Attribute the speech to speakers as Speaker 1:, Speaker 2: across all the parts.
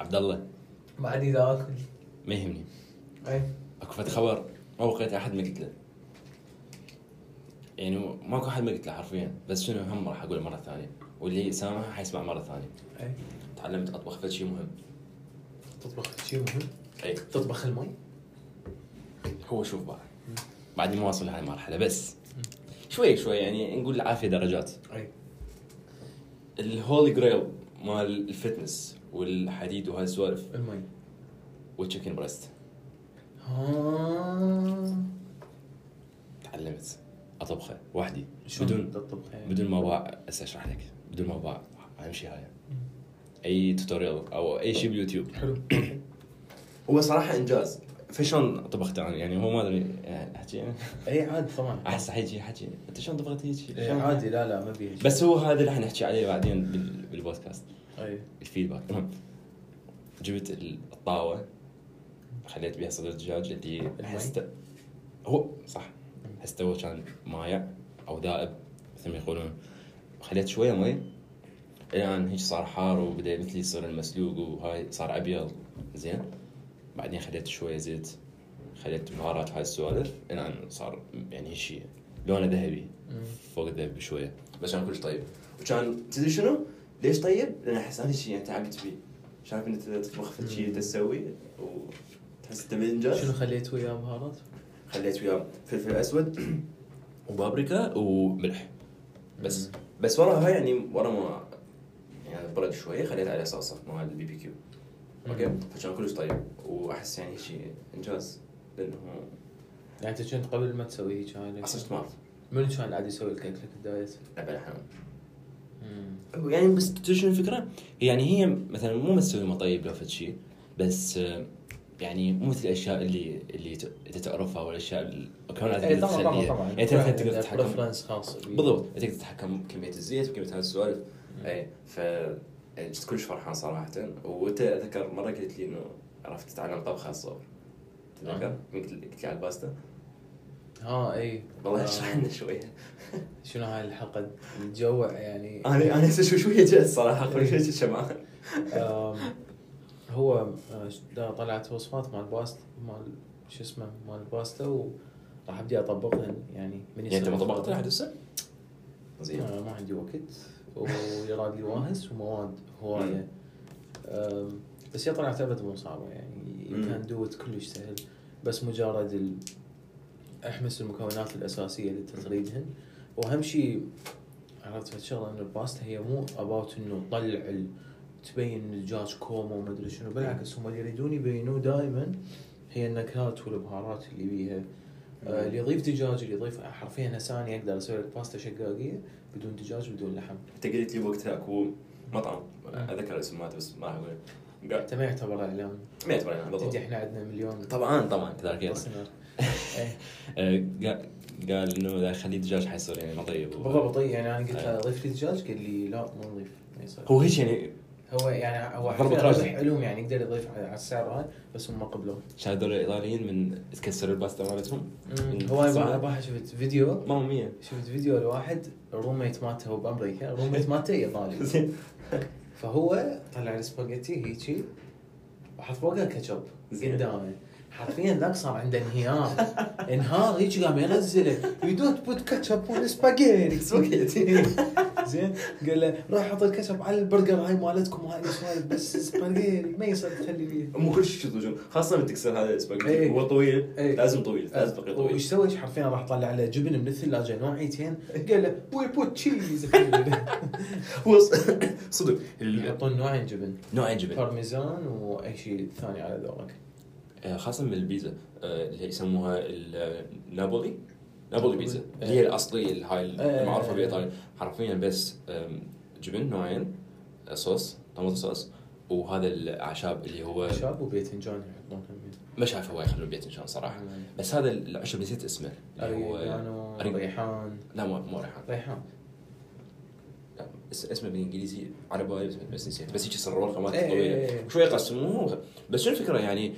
Speaker 1: عبد الله
Speaker 2: ما عاد إيه، اذا اكل
Speaker 1: ما يهمني
Speaker 2: اي
Speaker 1: اكو فد خبر ما وقيت احد ما قلت له يعني ماكو احد ما قلت له حرفيا بس شنو هم راح اقوله مره ثانيه واللي سامع حيسمع مره ثانيه
Speaker 2: اي
Speaker 1: تعلمت اطبخ فد شيء مهم
Speaker 2: إيه. تطبخ شيء مهم
Speaker 1: اي
Speaker 2: تطبخ المي
Speaker 1: هو شوف بعد بعدني ما واصل لهاي المرحله بس
Speaker 2: إيه.
Speaker 1: شوي شوي يعني نقول العافيه درجات
Speaker 2: اي
Speaker 1: الهولي جريل مال الفتنس والحديد وهالسوالف
Speaker 2: المي
Speaker 1: والتشيكن بريست
Speaker 2: ها
Speaker 1: تعلمت اطبخه وحدي
Speaker 2: شلون
Speaker 1: بدون
Speaker 2: تطبخ يعني؟
Speaker 1: بدون ما باع هسه اشرح لك بدون ما باع اهم شيء هاي اي توتوريال او اي شيء باليوتيوب
Speaker 2: حلو
Speaker 1: هو صراحه انجاز فشلون طبخت انا يعني هو ما ادري يعني احكي أنا؟
Speaker 2: اي عادي طبعا
Speaker 1: احس حيجي حكي انت شلون طبخت هيك شيء؟
Speaker 2: إي،
Speaker 1: شلون؟
Speaker 2: عادي إيه، لا لا ما بيها شيء.
Speaker 1: إيه. بس هو هذا اللي حنحكي عليه بعدين بال- بالبودكاست
Speaker 2: اي
Speaker 1: الفيدباك المهم جبت الطاوه خليت بيها صدر الدجاج اللي هسه هو صح هسه هو كان مايع او ذائب مثل ما يقولون خليت شويه مي الان هيك صار حار وبدا مثل يصير المسلوق وهاي صار ابيض زين بعدين خليت شويه زيت خليت بهارات هاي السوالف الان صار يعني شيء لونه ذهبي
Speaker 2: إيه.
Speaker 1: فوق الذهب بشويه بس كان كلش طيب وكان تدري شنو؟ ليش طيب؟ لان احس هذا الشيء يعني تعبت فيه شايف انت تطبخ في شيء انت تسوي وتحس انت
Speaker 2: شنو
Speaker 1: بالانجاز
Speaker 2: خليت وياه بهارات؟
Speaker 1: خليت وياه فلفل اسود وبابريكا وملح بس بس وراها يعني ورا ما يعني برد شوي خليت عليه صلصه مع البي بي كيو اوكي فكان كلش طيب واحس يعني شيء انجاز لانه
Speaker 2: يعني انت كنت قبل ما تسوي هيك هاي
Speaker 1: اصلا ما أعرف.
Speaker 2: من كان عاد يسوي الكيك لك الدايت؟
Speaker 1: لا بلا حرام. يعني بس تدري شنو الفكره؟ يعني هي مثلا مو بس تسوي مطيب لو فد شيء بس آه، يعني مو مثل الاشياء اللي اللي ت- انت تعرفها والاشياء الكونات
Speaker 2: إي، طبعا طبعا
Speaker 1: تخليها.
Speaker 2: طبعا
Speaker 1: يعني انت مثلا تقدر تتحكم
Speaker 2: بريفرنس خاص بيه.
Speaker 1: بالضبط أنت تقدر تتحكم بكميه الزيت وكميه هذه السوالف
Speaker 2: مم.
Speaker 1: اي ف يعني كنت كلش فرحان صراحه وانت اتذكر مره قلت لي انه عرفت تتعلم طبخه الصبر تتذكر؟
Speaker 2: آه.
Speaker 1: قلت لي قلت لي على الباستا
Speaker 2: ها اي
Speaker 1: والله
Speaker 2: آه.
Speaker 1: اشرح لنا شويه
Speaker 2: شنو هاي الحلقه تجوع يعني
Speaker 1: انا انا هسه شو- شويه جاي
Speaker 2: إيه.
Speaker 1: الصراحه كل شيء شمعان
Speaker 2: أم، هو أه، ش- دا طلعت وصفات مال باستا مال شو اسمه مال باستا وراح ابدي اطبقهن يعني من
Speaker 1: يعني انت ما
Speaker 2: يسوي
Speaker 1: طبقت آه. لحد
Speaker 2: الفطور.
Speaker 1: هسه؟ زين
Speaker 2: أه، ما عندي وقت ويراد لي واهس ومواد
Speaker 1: مم.
Speaker 2: هوايه أم، بس هي طلعت ابد مو صعبه يعني
Speaker 1: مم.
Speaker 2: كان دوت كلش سهل بس مجرد ال... احمس المكونات الاساسيه اللي انت تريدهن واهم شيء عرفت هالشغله ان الباستا هي مو اباوت انه طلع ال... تبين إن الدجاج كوما وما ادري شنو بالعكس هم اللي يريدون يبينوه دائما هي النكهات والبهارات اللي بيها آه، اللي يضيف دجاج اللي يضيف حرفيا هسه انا اقدر اسوي لك باستا شقاقيه بدون دجاج بدون لحم
Speaker 1: انت قلت لي وقتها اكو مطعم
Speaker 2: آه.
Speaker 1: اذكر اسم مالته بس ما راح اقوله قاعد-
Speaker 2: حتى ما يعتبر اعلان
Speaker 1: ما يعتبر يعني
Speaker 2: تدري
Speaker 1: بالضبط
Speaker 2: احنا عندنا مليون
Speaker 1: طبعا طبعا كذلك يعني.
Speaker 2: listener. إيه.
Speaker 1: آه، قا- قال انه لا خليه دجاج حيصير يعني مطيب و-
Speaker 2: بالضبط إي، يعني انا قلت
Speaker 1: أي.
Speaker 2: له ضيف لي دجاج قال لي لا مو نضيف ما يصير
Speaker 1: هو هيك يعني
Speaker 2: هو يعني هو
Speaker 1: ضربة
Speaker 2: حرفيا
Speaker 1: راجل.
Speaker 2: ربح علوم يعني يقدر يضيف على على السعر هاي بس هم ما قبلوه
Speaker 1: شاف هذول الايطاليين من تكسروا الباستا مالتهم
Speaker 2: هو أنا باحة شفت فيديو
Speaker 1: ماما مية
Speaker 2: شفت فيديو لواحد الروميت مالته هو بامريكا الروميت مالته ايطالي
Speaker 1: زين
Speaker 2: فهو طلع السباجيتي هيجي وحط فوقها كاتشب
Speaker 1: زين.
Speaker 2: قدامه حرفيا ذاك صار عنده انهيار انهار هيجي قام ينزله يو دونت بوت كاتشب اون سباجيتي
Speaker 1: سباجيتي.
Speaker 2: زين قال له روح حط الكاتشب على البرجر هاي مالتكم هاي سوالف بس سباجيتي ما يصير تخلي لي
Speaker 1: مو كل شيء تطوجون خاصه من تكسر هذا الاسباجيتي
Speaker 2: إيه.
Speaker 1: هو طويل
Speaker 2: إيه.
Speaker 1: لازم طويل لازم تبقى
Speaker 2: وش
Speaker 1: طويل
Speaker 2: سوى حرفيا راح طلع له جبن من الثلاجه نوعيتين قال له بوي بوت تشيز
Speaker 1: هو ص- صدق ال-
Speaker 2: يحطون نوعين جبن
Speaker 1: نوعين جبن
Speaker 2: بارميزان واي شيء ثاني على ذوقك
Speaker 1: آه، خاصه من البيتزا آه، اللي يسموها النابولي نابولي
Speaker 2: نابولي.
Speaker 1: بيتزا اللي
Speaker 2: إيه.
Speaker 1: هي الاصليه هاي
Speaker 2: إيه.
Speaker 1: المعروفه بايطاليا حرفيا طيب، بس آم، جبن نوعين آه، صوص طماطم صوص وهذا الاعشاب اللي هو
Speaker 2: شاب وباذنجان يحطون هم.
Speaker 1: ما شايف هو يخلون بيت ان شاء الله صراحه بس هذا العشب نسيت اسمه اللي هو
Speaker 2: اريجانو
Speaker 1: أري-
Speaker 2: ريحان
Speaker 1: لا مو مو ريحان
Speaker 2: ريحان
Speaker 1: لا، اس- اسمه بالانجليزي على بالي بس- بس نسيت بس هيك الرورقه مالته
Speaker 2: إيه، إيه،
Speaker 1: طويله
Speaker 2: إيه.
Speaker 1: وشوي يقسموه بس شنو الفكره يعني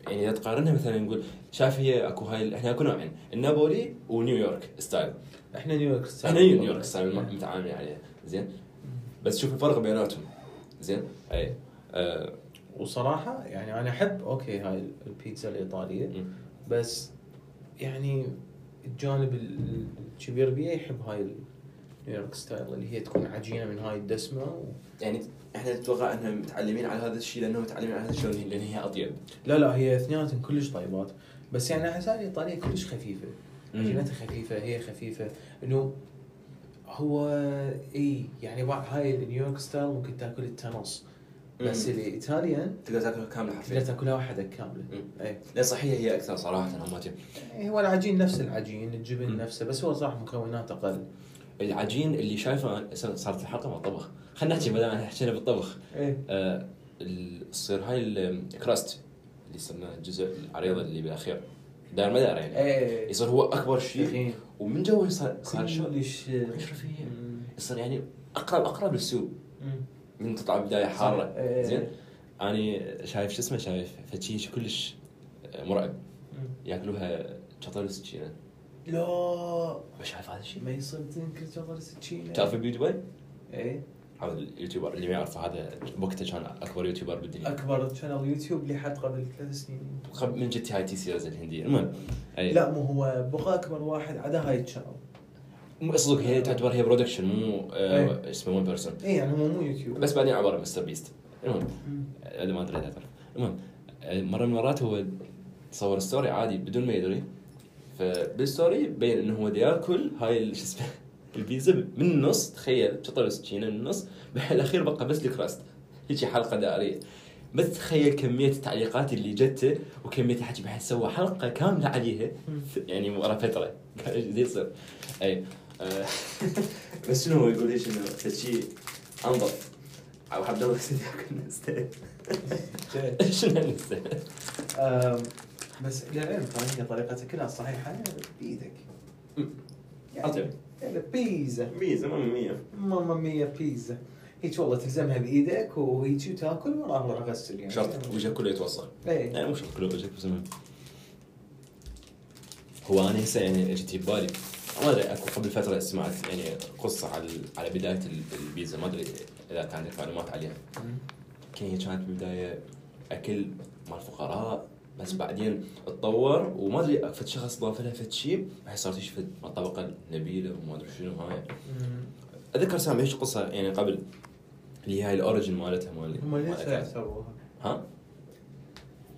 Speaker 1: يعني اذا تقارنها مثلا نقول شايف هي اكو هاي احنا اكو نوعين النابولي ونيويورك ستايل
Speaker 2: احنا نيويورك
Speaker 1: احنا نيويورك ستايل
Speaker 2: إيه.
Speaker 1: ما- متعاملين عليها زين بس شوف الفرق بيناتهم زين اي آه،
Speaker 2: وصراحه يعني انا احب اوكي هاي البيتزا الايطاليه
Speaker 1: مم.
Speaker 2: بس يعني الجانب ال- الكبير بيه يحب هاي ال- نيويورك ستايل اللي هي تكون عجينه من هاي الدسمه و...
Speaker 1: يعني احنا نتوقع انهم متعلمين على هذا الشيء لانهم متعلمين على هذا الشيء لأن- لان هي اطيب
Speaker 2: لا لا هي اثنيناتهم كلش طيبات بس يعني احس هاي الايطاليه كلش خفيفه
Speaker 1: مم.
Speaker 2: عجينتها خفيفه هي خفيفه انه هو اي يعني بعد هاي النيويورك ستايل ممكن تاكل انت نص بس
Speaker 1: مم.
Speaker 2: الايطاليان
Speaker 1: تقدر تاكلها كامله
Speaker 2: تقدر
Speaker 1: حرفيا
Speaker 2: تاكلها واحده كامله
Speaker 1: مم.
Speaker 2: اي
Speaker 1: لا صحية هي اكثر صراحه هماتي
Speaker 2: إي إيه. هو العجين نفس العجين الجبن
Speaker 1: مم.
Speaker 2: نفسه بس هو صح مكونات اقل
Speaker 1: العجين اللي شايفه أنا- هسه صارت الحلقه مع الطبخ خلينا نحكي بدل ما حكينا بالطبخ
Speaker 2: ايه
Speaker 1: آه، ال- تصير هاي ال- الكراست اللي صرنا الجزء العريض اللي بالاخير دار مدار يعني
Speaker 2: ايه
Speaker 1: يصير هو اكبر شيء ومن جوا صار صار شو
Speaker 2: كلش
Speaker 1: رفيع. يصير يعني اقرب اقرب للسوق
Speaker 2: مم.
Speaker 1: من تطلع بدايه
Speaker 2: صح.
Speaker 1: حاره
Speaker 2: إيه.
Speaker 1: زين انا شايف شو اسمه شايف فتشي كلش آه، مرعب
Speaker 2: مم.
Speaker 1: ياكلوها شطر السكينه
Speaker 2: لا
Speaker 1: شايف هذا الشيء
Speaker 2: ما يصير تنكر جبر السكينه
Speaker 1: تعرف بدبي
Speaker 2: ايه
Speaker 1: هذا اليوتيوبر اللي ما يعرفه هذا وقته كان اكبر يوتيوبر بالدنيا
Speaker 2: اكبر شانل يوتيوب لحد قبل ثلاث سنين
Speaker 1: خب- من جت هاي تي سيريز الهنديه المهم يعني أي.
Speaker 2: لا مو هو بقى اكبر واحد عدا هاي الشانل
Speaker 1: مو اصدق هي تعتبر هي برودكشن مو آه،
Speaker 2: أي.
Speaker 1: اسمه ون بيرسون
Speaker 2: اي يعني هو مو يوتيوب
Speaker 1: بس بعدين عباره عن مستر بيست المهم
Speaker 2: مم.
Speaker 1: اذا ما ادري إذا تعرف المهم آه، مره من المرات هو صور ستوري عادي بدون ما يدري فبالستوري بين انه هو دا ياكل هاي ال- شو اسمه البيتزا من النص تخيل شطر سكينه من النص بالاخير بقى بس الكراست هيجي حلقه دائريه بس تخيل كمية التعليقات اللي جته وكمية الحكي بحيث سوى حلقة كاملة عليها
Speaker 2: مم.
Speaker 1: يعني ورا فترة زي يصير اي آه، بس شنو هو يقول ليش انه شيء انظف او عبد الله يصير ياكل نستاهل
Speaker 2: زين.
Speaker 1: شنو نستاهل
Speaker 2: أم، بس للعلم ترى هي طريقتها كلها صحيحه بايدك
Speaker 1: أطيب.
Speaker 2: يعني بيتزا
Speaker 1: ميزة مية
Speaker 2: ماما مية بيتزا هيك والله تلزمها بايدك وهيك وتاكل وراها راح اغسل يعني
Speaker 1: شرط وجهك كله يتوسخ
Speaker 2: ايه
Speaker 1: يعني مو شرط كله وجهك بس المهم هو انا هسه يعني اجت ببالي ما ادري اكو قبل فتره سمعت يعني قصه على على بدايه ال- البيتزا ما ادري اذا كان عندك معلومات عليها كان هي كانت بالبدايه اكل مال فقراء بس بعدين تطور وما ادري فد شخص ضاف لها فد شيء بعدين صارت تشوف الطبقه النبيله وما ادري شنو هاي
Speaker 2: مم.
Speaker 1: اذكر سامع هيك قصه يعني قبل اللي هي الاوريجن مالتها مال
Speaker 2: هم ليش
Speaker 1: مال أكلها.
Speaker 2: يعتبروها؟
Speaker 1: ها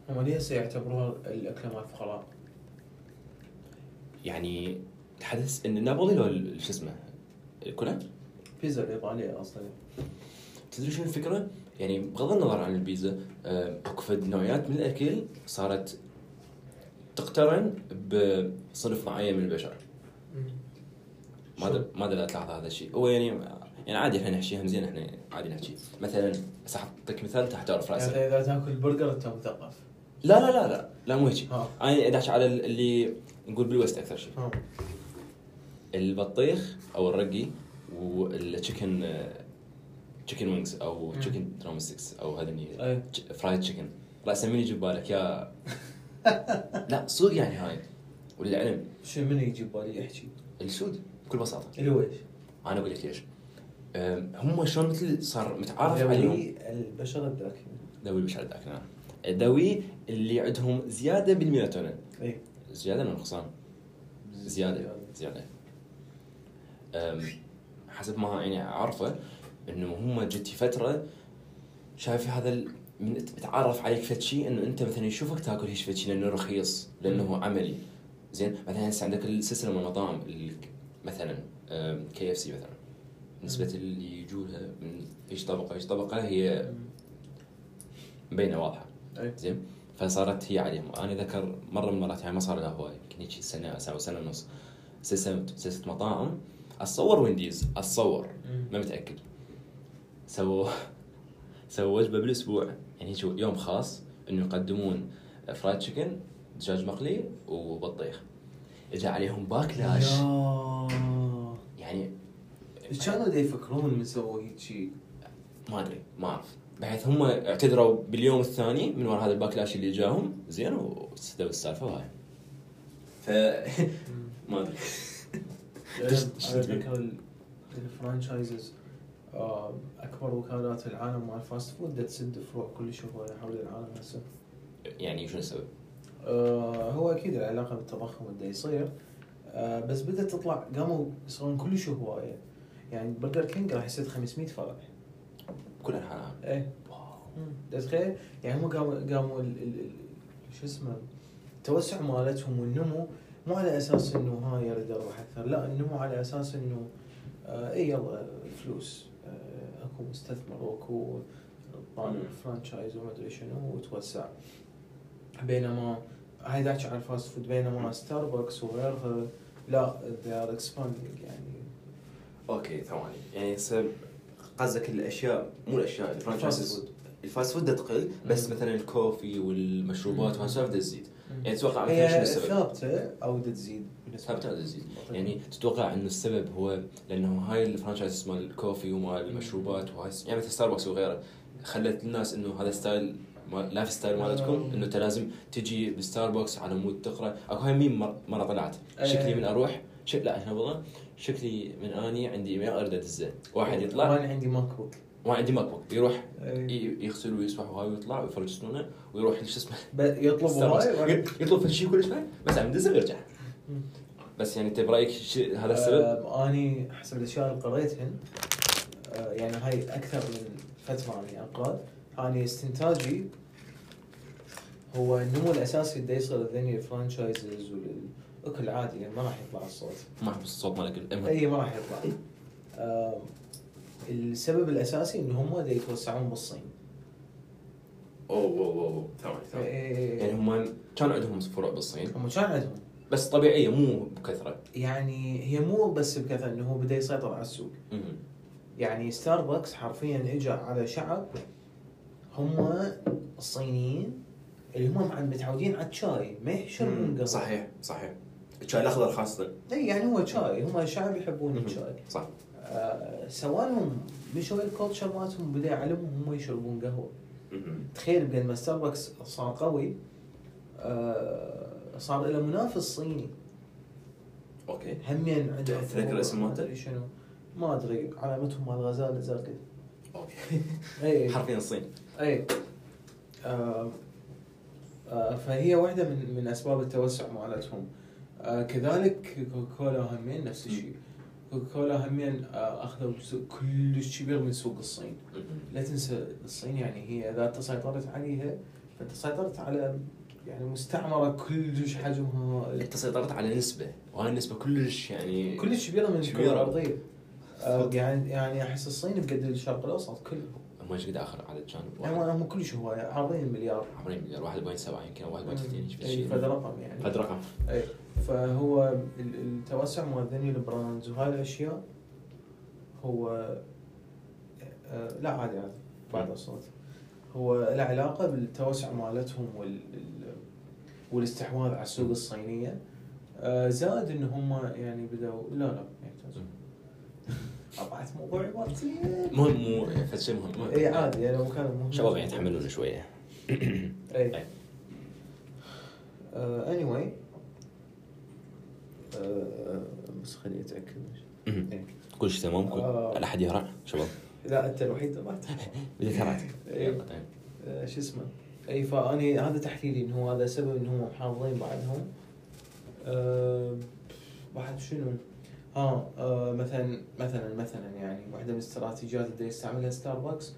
Speaker 2: هم ليش يعتبروها الاكله مال الفقراء؟
Speaker 1: يعني الحدث ان نابولي لو ال- شو اسمه الكلى
Speaker 2: بيتزا الايطاليه اصلا
Speaker 1: تدري شنو الفكره؟ يعني بغض النظر عن البيتزا آه، اكو فد نوعيات من الاكل صارت تقترن بصنف معين من البشر ما
Speaker 2: شو؟
Speaker 1: ادري ما ادري إذا تلاحظ هذا الشيء هو يعني يعني عادي احنا نحشيهم زين احنا عادي نحكي مثلا بس اعطيك مثال انت حتعرف راسا
Speaker 2: يعني اذا تاكل برجر انت مثقف
Speaker 1: لا لا لا لا لا مو هيك
Speaker 2: ها.
Speaker 1: انا ادعش على اللي نقول بالوست اكثر شيء
Speaker 2: ها.
Speaker 1: البطيخ او الرقي آه، والتشيكن تشيكن وينجز او
Speaker 2: مم.
Speaker 1: تشيكن درومستكس او هذا اللي
Speaker 2: أي.
Speaker 1: تش- فرايد تشيكن راسا من يجي ببالك يا لا صدق يعني هاي وللعلم
Speaker 2: شو من يجي ببالي احكي
Speaker 1: السود بكل بساطه
Speaker 2: اللي هو ايش؟
Speaker 1: انا اقول لك ليش أم، هم شلون مثل صار متعارف عليهم
Speaker 2: البشر الذاكرين
Speaker 1: ذوي البشعه الذاكره ذوي نعم. اللي عندهم زياده بالميلاتونين
Speaker 2: اي
Speaker 1: زياده ولا نقصان؟ زياده زياده أم، حسب ما يعني عارفه انه هم جت فتره شايف هذا ال- من تعرف عليك فد شيء انه انت مثلا يشوفك تاكل هيش فد شيء لانه رخيص لانه هو عملي زين مثلا هسه عندك السلسله من المطاعم ال- مثلا كي اف سي مثلا نسبة اللي يجولها من ايش طبقه ايش طبقه هي مبينه واضحه
Speaker 2: أي.
Speaker 1: زين فصارت هي عليهم انا ذكر مره من المرات يعني ما صار لها هواي يمكن هيك سنه سنه سنه ونص سلسله سلسله مطاعم اتصور وينديز اتصور
Speaker 2: مم.
Speaker 1: ما متاكد سووا سووا وجبه بالاسبوع يعني هيك يوم خاص انه يقدمون فرايد تشيكن دجاج مقلي وبطيخ اجى عليهم باكلاش
Speaker 2: يا.
Speaker 1: يعني
Speaker 2: كانوا دا يفكرون من سووا هيك شيء
Speaker 1: ما ادري ما اعرف بحيث هم اعتذروا باليوم الثاني من وراء هذا الباكلاش اللي جاهم زين واستدوا السالفه وهاي ف ما ادري
Speaker 2: على فكره الفرانشايزز اكبر آه، وكالات في العالم مال الفاست فود دا تسد فروع كل شهور حول العالم هسه
Speaker 1: يعني شنو السبب؟
Speaker 2: آه، هو اكيد العلاقه بالتضخم اللي يصير آه، بس بدات تطلع قاموا يصيرون كلش هوايه يعني برجر كينج راح يصير 500 فرع
Speaker 1: بكل انحاء العالم
Speaker 2: ايه واو تخيل يعني هم قاموا قاموا ال- ال- ال- شو اسمه التوسع مالتهم والنمو مو على اساس انه ها يريد اربح اكثر لا النمو على اساس انه آه اي يلا فلوس آه اكو مستثمر واكو طالع
Speaker 1: مم.
Speaker 2: فرانشايز وما ادري شنو وتوسع بينما هاي داش على الفاست فود بينما ستاربكس وغيرها لا they are expanding يعني
Speaker 1: اوكي ثواني يعني هسه قصدك الاشياء مو الاشياء الفرانشايزز الفاست فود تقل بس
Speaker 2: مم.
Speaker 1: مثلا الكوفي والمشروبات وهالسوالف تزيد يعني تتوقع مثلا شنو
Speaker 2: هي
Speaker 1: السبب؟
Speaker 2: ثابته او تزيد بالنسبة
Speaker 1: ثابتة أو
Speaker 2: لي.
Speaker 1: تزيد. يعني تتوقع انه السبب هو لانه هاي الفرانشايز مال الكوفي ومال المشروبات وهاي يعني مثل ستاربكس وغيره خلت الناس انه هذا ستايل مال- لايف ستايل مالتكم
Speaker 2: آه.
Speaker 1: انه انت لازم تجي بستاربكس على مود تقرا اكو هاي ميم مر- مره طلعت
Speaker 2: آه.
Speaker 1: شكلي من اروح ش... لا هنا والله شكلي من اني عندي ايميل اريد ادزه واحد يطلع إيه.
Speaker 2: انا إيه، عندي إيه. ماك بوك
Speaker 1: ما عندي ماك بوك يروح
Speaker 2: أي.
Speaker 1: ي- يغسل ويسبح وهاي ويطلع ويفرج سنونه ويروح شو اسمه
Speaker 2: ب- يطلب
Speaker 1: ستاربكس.
Speaker 2: هاي وأنا-
Speaker 1: يطلب في شيء كلش فاهم بس عم يدزه ويرجع
Speaker 2: مم.
Speaker 1: بس يعني انت برايك شي- هذا السبب؟
Speaker 2: آه، اني حسب الاشياء اللي قريتهن آه، يعني هاي اكثر من فتره يعني انقاد اني استنتاجي هو النمو الاساسي اللي يصير لذني الفرانشايزز والاكل عادي يعني ما راح يطلع الصوت
Speaker 1: ما احب الصوت مالك الأم.
Speaker 2: اي ما راح يطلع آه، السبب الاساسي ان هم دا يتوسعون بالصين
Speaker 1: اوه اوه اوه ثواني
Speaker 2: إي- إي- إي.
Speaker 1: يعني هم كان عندهم فروع بالصين
Speaker 2: إيه، هم كان عندهم
Speaker 1: بس طبيعيه مو بكثره
Speaker 2: يعني هي مو بس بكثره انه هو بدا يسيطر على السوق
Speaker 1: مهم.
Speaker 2: يعني ستاربكس حرفيا اجى على شعب هم الصينيين اللي هم عن- متعودين على الشاي ما يشربون قهوه
Speaker 1: صحيح صحيح الشاي الاخضر خاصه
Speaker 2: اي يعني هو شاي هم شعب يحبون
Speaker 1: مهم.
Speaker 2: الشاي
Speaker 1: صح
Speaker 2: آه سوالهم مشوا الكولتشر مالتهم بدا يعلمهم هم يشربون قهوه
Speaker 1: مهم.
Speaker 2: تخيل بين ما ستاربكس صار قوي آه صار له منافس صيني
Speaker 1: اوكي
Speaker 2: همين عندهم
Speaker 1: تذكر
Speaker 2: فروع،
Speaker 1: اسم مالته؟
Speaker 2: ما ادري شنو ما ادري علامتهم مال غزاله زرقاء
Speaker 1: اوكي
Speaker 2: اي
Speaker 1: حرفيا الصين
Speaker 2: اي طيب. آه آه فهي واحده من من اسباب التوسع مالتهم آه كذلك كوكولا همين نفس الشيء كوكولا همين آه اخذوا جزء كلش كبير من سوق الصين
Speaker 1: مهم.
Speaker 2: لا تنسى الصين يعني هي اذا انت سيطرت عليها فانت سيطرت على يعني مستعمره كلش حجمها هائل.
Speaker 1: انت سيطرت على نسبه وهاي النسبه كلش يعني
Speaker 2: كلش كبيره من الكره
Speaker 1: كبيرة.
Speaker 2: الارضيه آه يعني يعني احس الصين بقد الشرق الاوسط كله
Speaker 1: ما ايش قد اخر عدد كان؟
Speaker 2: هم
Speaker 1: واحد-
Speaker 2: هم كلش هوايه عارضين مليار
Speaker 1: عمري مليار 1.7 يمكن او 1.2 ايش في
Speaker 2: إيه،
Speaker 1: الشيء.
Speaker 2: فهذا رقم يعني
Speaker 1: هذا رقم
Speaker 2: اي فهو ال- التوسع مال ذني البراندز وهاي الاشياء هو آه، لا عادي عادي بعد الصوت هو له علاقه بالتوسع مالتهم وال ال- والاستحواذ على السوق الصينيه آه، زائد ان هم يعني بدأوا لا لا يحتاجون قطعت موضوعي مرتين
Speaker 1: مهم مو فد شيء مهم مهم.
Speaker 2: اي إيه، عادي انا مكان مهم
Speaker 1: شباب يعني يتحملون شويه
Speaker 2: اي اني واي بس خليني اتاكد إيه.
Speaker 1: أمم. كل شيء تمام
Speaker 2: آه.
Speaker 1: كل لا احد يهرع شباب
Speaker 2: لا انت الوحيد ما
Speaker 1: بديت هرعت
Speaker 2: إيه.
Speaker 1: يلا طيب.
Speaker 2: آه، شو اسمه اي فاني هذا تحليلي انه هو هذا سبب انهم محافظين بعدهم أه بعد شنو ها أه مثلا مثلا مثلا يعني واحده من الاستراتيجيات اللي يستعملها ستاربكس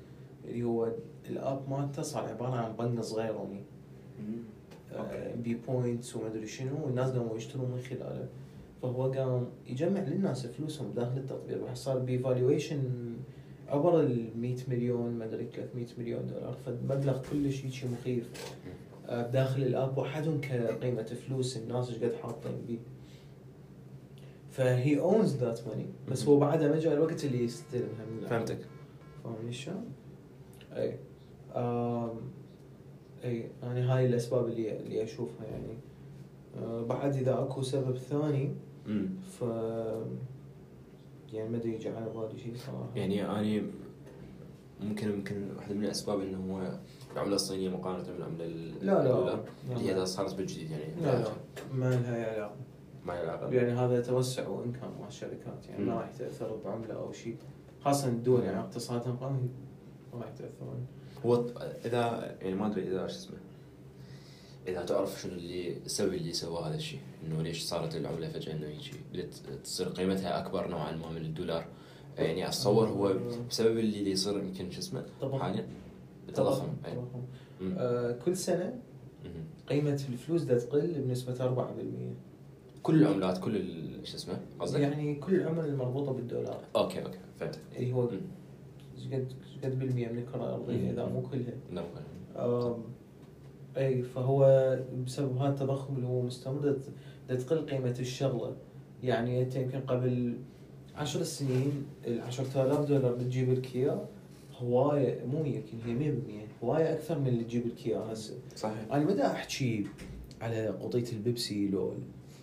Speaker 2: اللي هو الاب مالته صار عباره عن يعني بنك صغيروني أمم.
Speaker 1: أوكي.
Speaker 2: بي بوينتس وما ادري شنو والناس قاموا يشترون من خلاله فهو قام يجمع للناس فلوسهم داخل التطبيق راح صار بفالويشن عبر ال 100 مليون ما ادري 300 مليون دولار فمبلغ كلش هيجي مخيف آه، داخل الاب وحدهم كقيمه فلوس الناس ايش قد حاطين بيه فهي اونز ذات ماني بس هو بعدها ما جاء الوقت اللي يستلمها من العالم.
Speaker 1: فهمتك
Speaker 2: فاهمني شلون؟ اي آم، اي انا هاي الاسباب اللي اللي اشوفها يعني آه، بعد اذا اكو سبب ثاني
Speaker 1: مم.
Speaker 2: ف يعني ما ادري يجي على بالي شيء صراحه
Speaker 1: يعني اني ممكن يمكن واحده من الاسباب انه هو العمله الصينيه مقارنه بالعمله ال-
Speaker 2: لا لا
Speaker 1: الدولار،
Speaker 2: نعم.
Speaker 1: هي صارت بالجديد يعني
Speaker 2: لا لا ما لها علاقه
Speaker 1: ما له علاقه
Speaker 2: يعني هذا توسع وانكم مع الشركات يعني ما
Speaker 1: مم.
Speaker 2: راح تاثر بعمله او شيء خاصه الدول يعني
Speaker 1: مم.
Speaker 2: اقتصادها قوي ما راح يتاثرون
Speaker 1: هو الط- اذا يعني ما ادري اذا شو اسمه اذا تعرف شنو اللي السبب اللي سوى هذا الشيء انه ليش صارت العمله فجاه انه هيجي بدت تصير قيمتها اكبر نوعا ما من الدولار يعني اتصور هو بسبب اللي اللي يصير يمكن شو اسمه
Speaker 2: طبعاً.
Speaker 1: حاليا التضخم أي.
Speaker 2: تضخم. إيه.
Speaker 1: مم.
Speaker 2: آه، كل سنه
Speaker 1: مم.
Speaker 2: قيمه الفلوس دا تقل بنسبه 4%
Speaker 1: كل العملات كل ال- شو اسمه قصدك؟
Speaker 2: يعني كل العمله المربوطه بالدولار
Speaker 1: اوكي اوكي فهمت
Speaker 2: اللي هو
Speaker 1: مم.
Speaker 2: ايش قد إيش قد بالمية من الكرة الأرضية إذا مو كلها آه.
Speaker 1: لا، مو كلها.
Speaker 2: آم، أي فهو بسبب هذا التضخم اللي هو مستمر دت- تقل قيمة الشغلة يعني أنت يمكن قبل عشر سنين العشرة آلاف دولار بتجيب لك إياه هواية مو يمكن هي مية بالمية هواية أكثر من اللي تجيب لك إياه هسه
Speaker 1: صحيح
Speaker 2: أنا ما دا أحكي على قضية البيبسي لو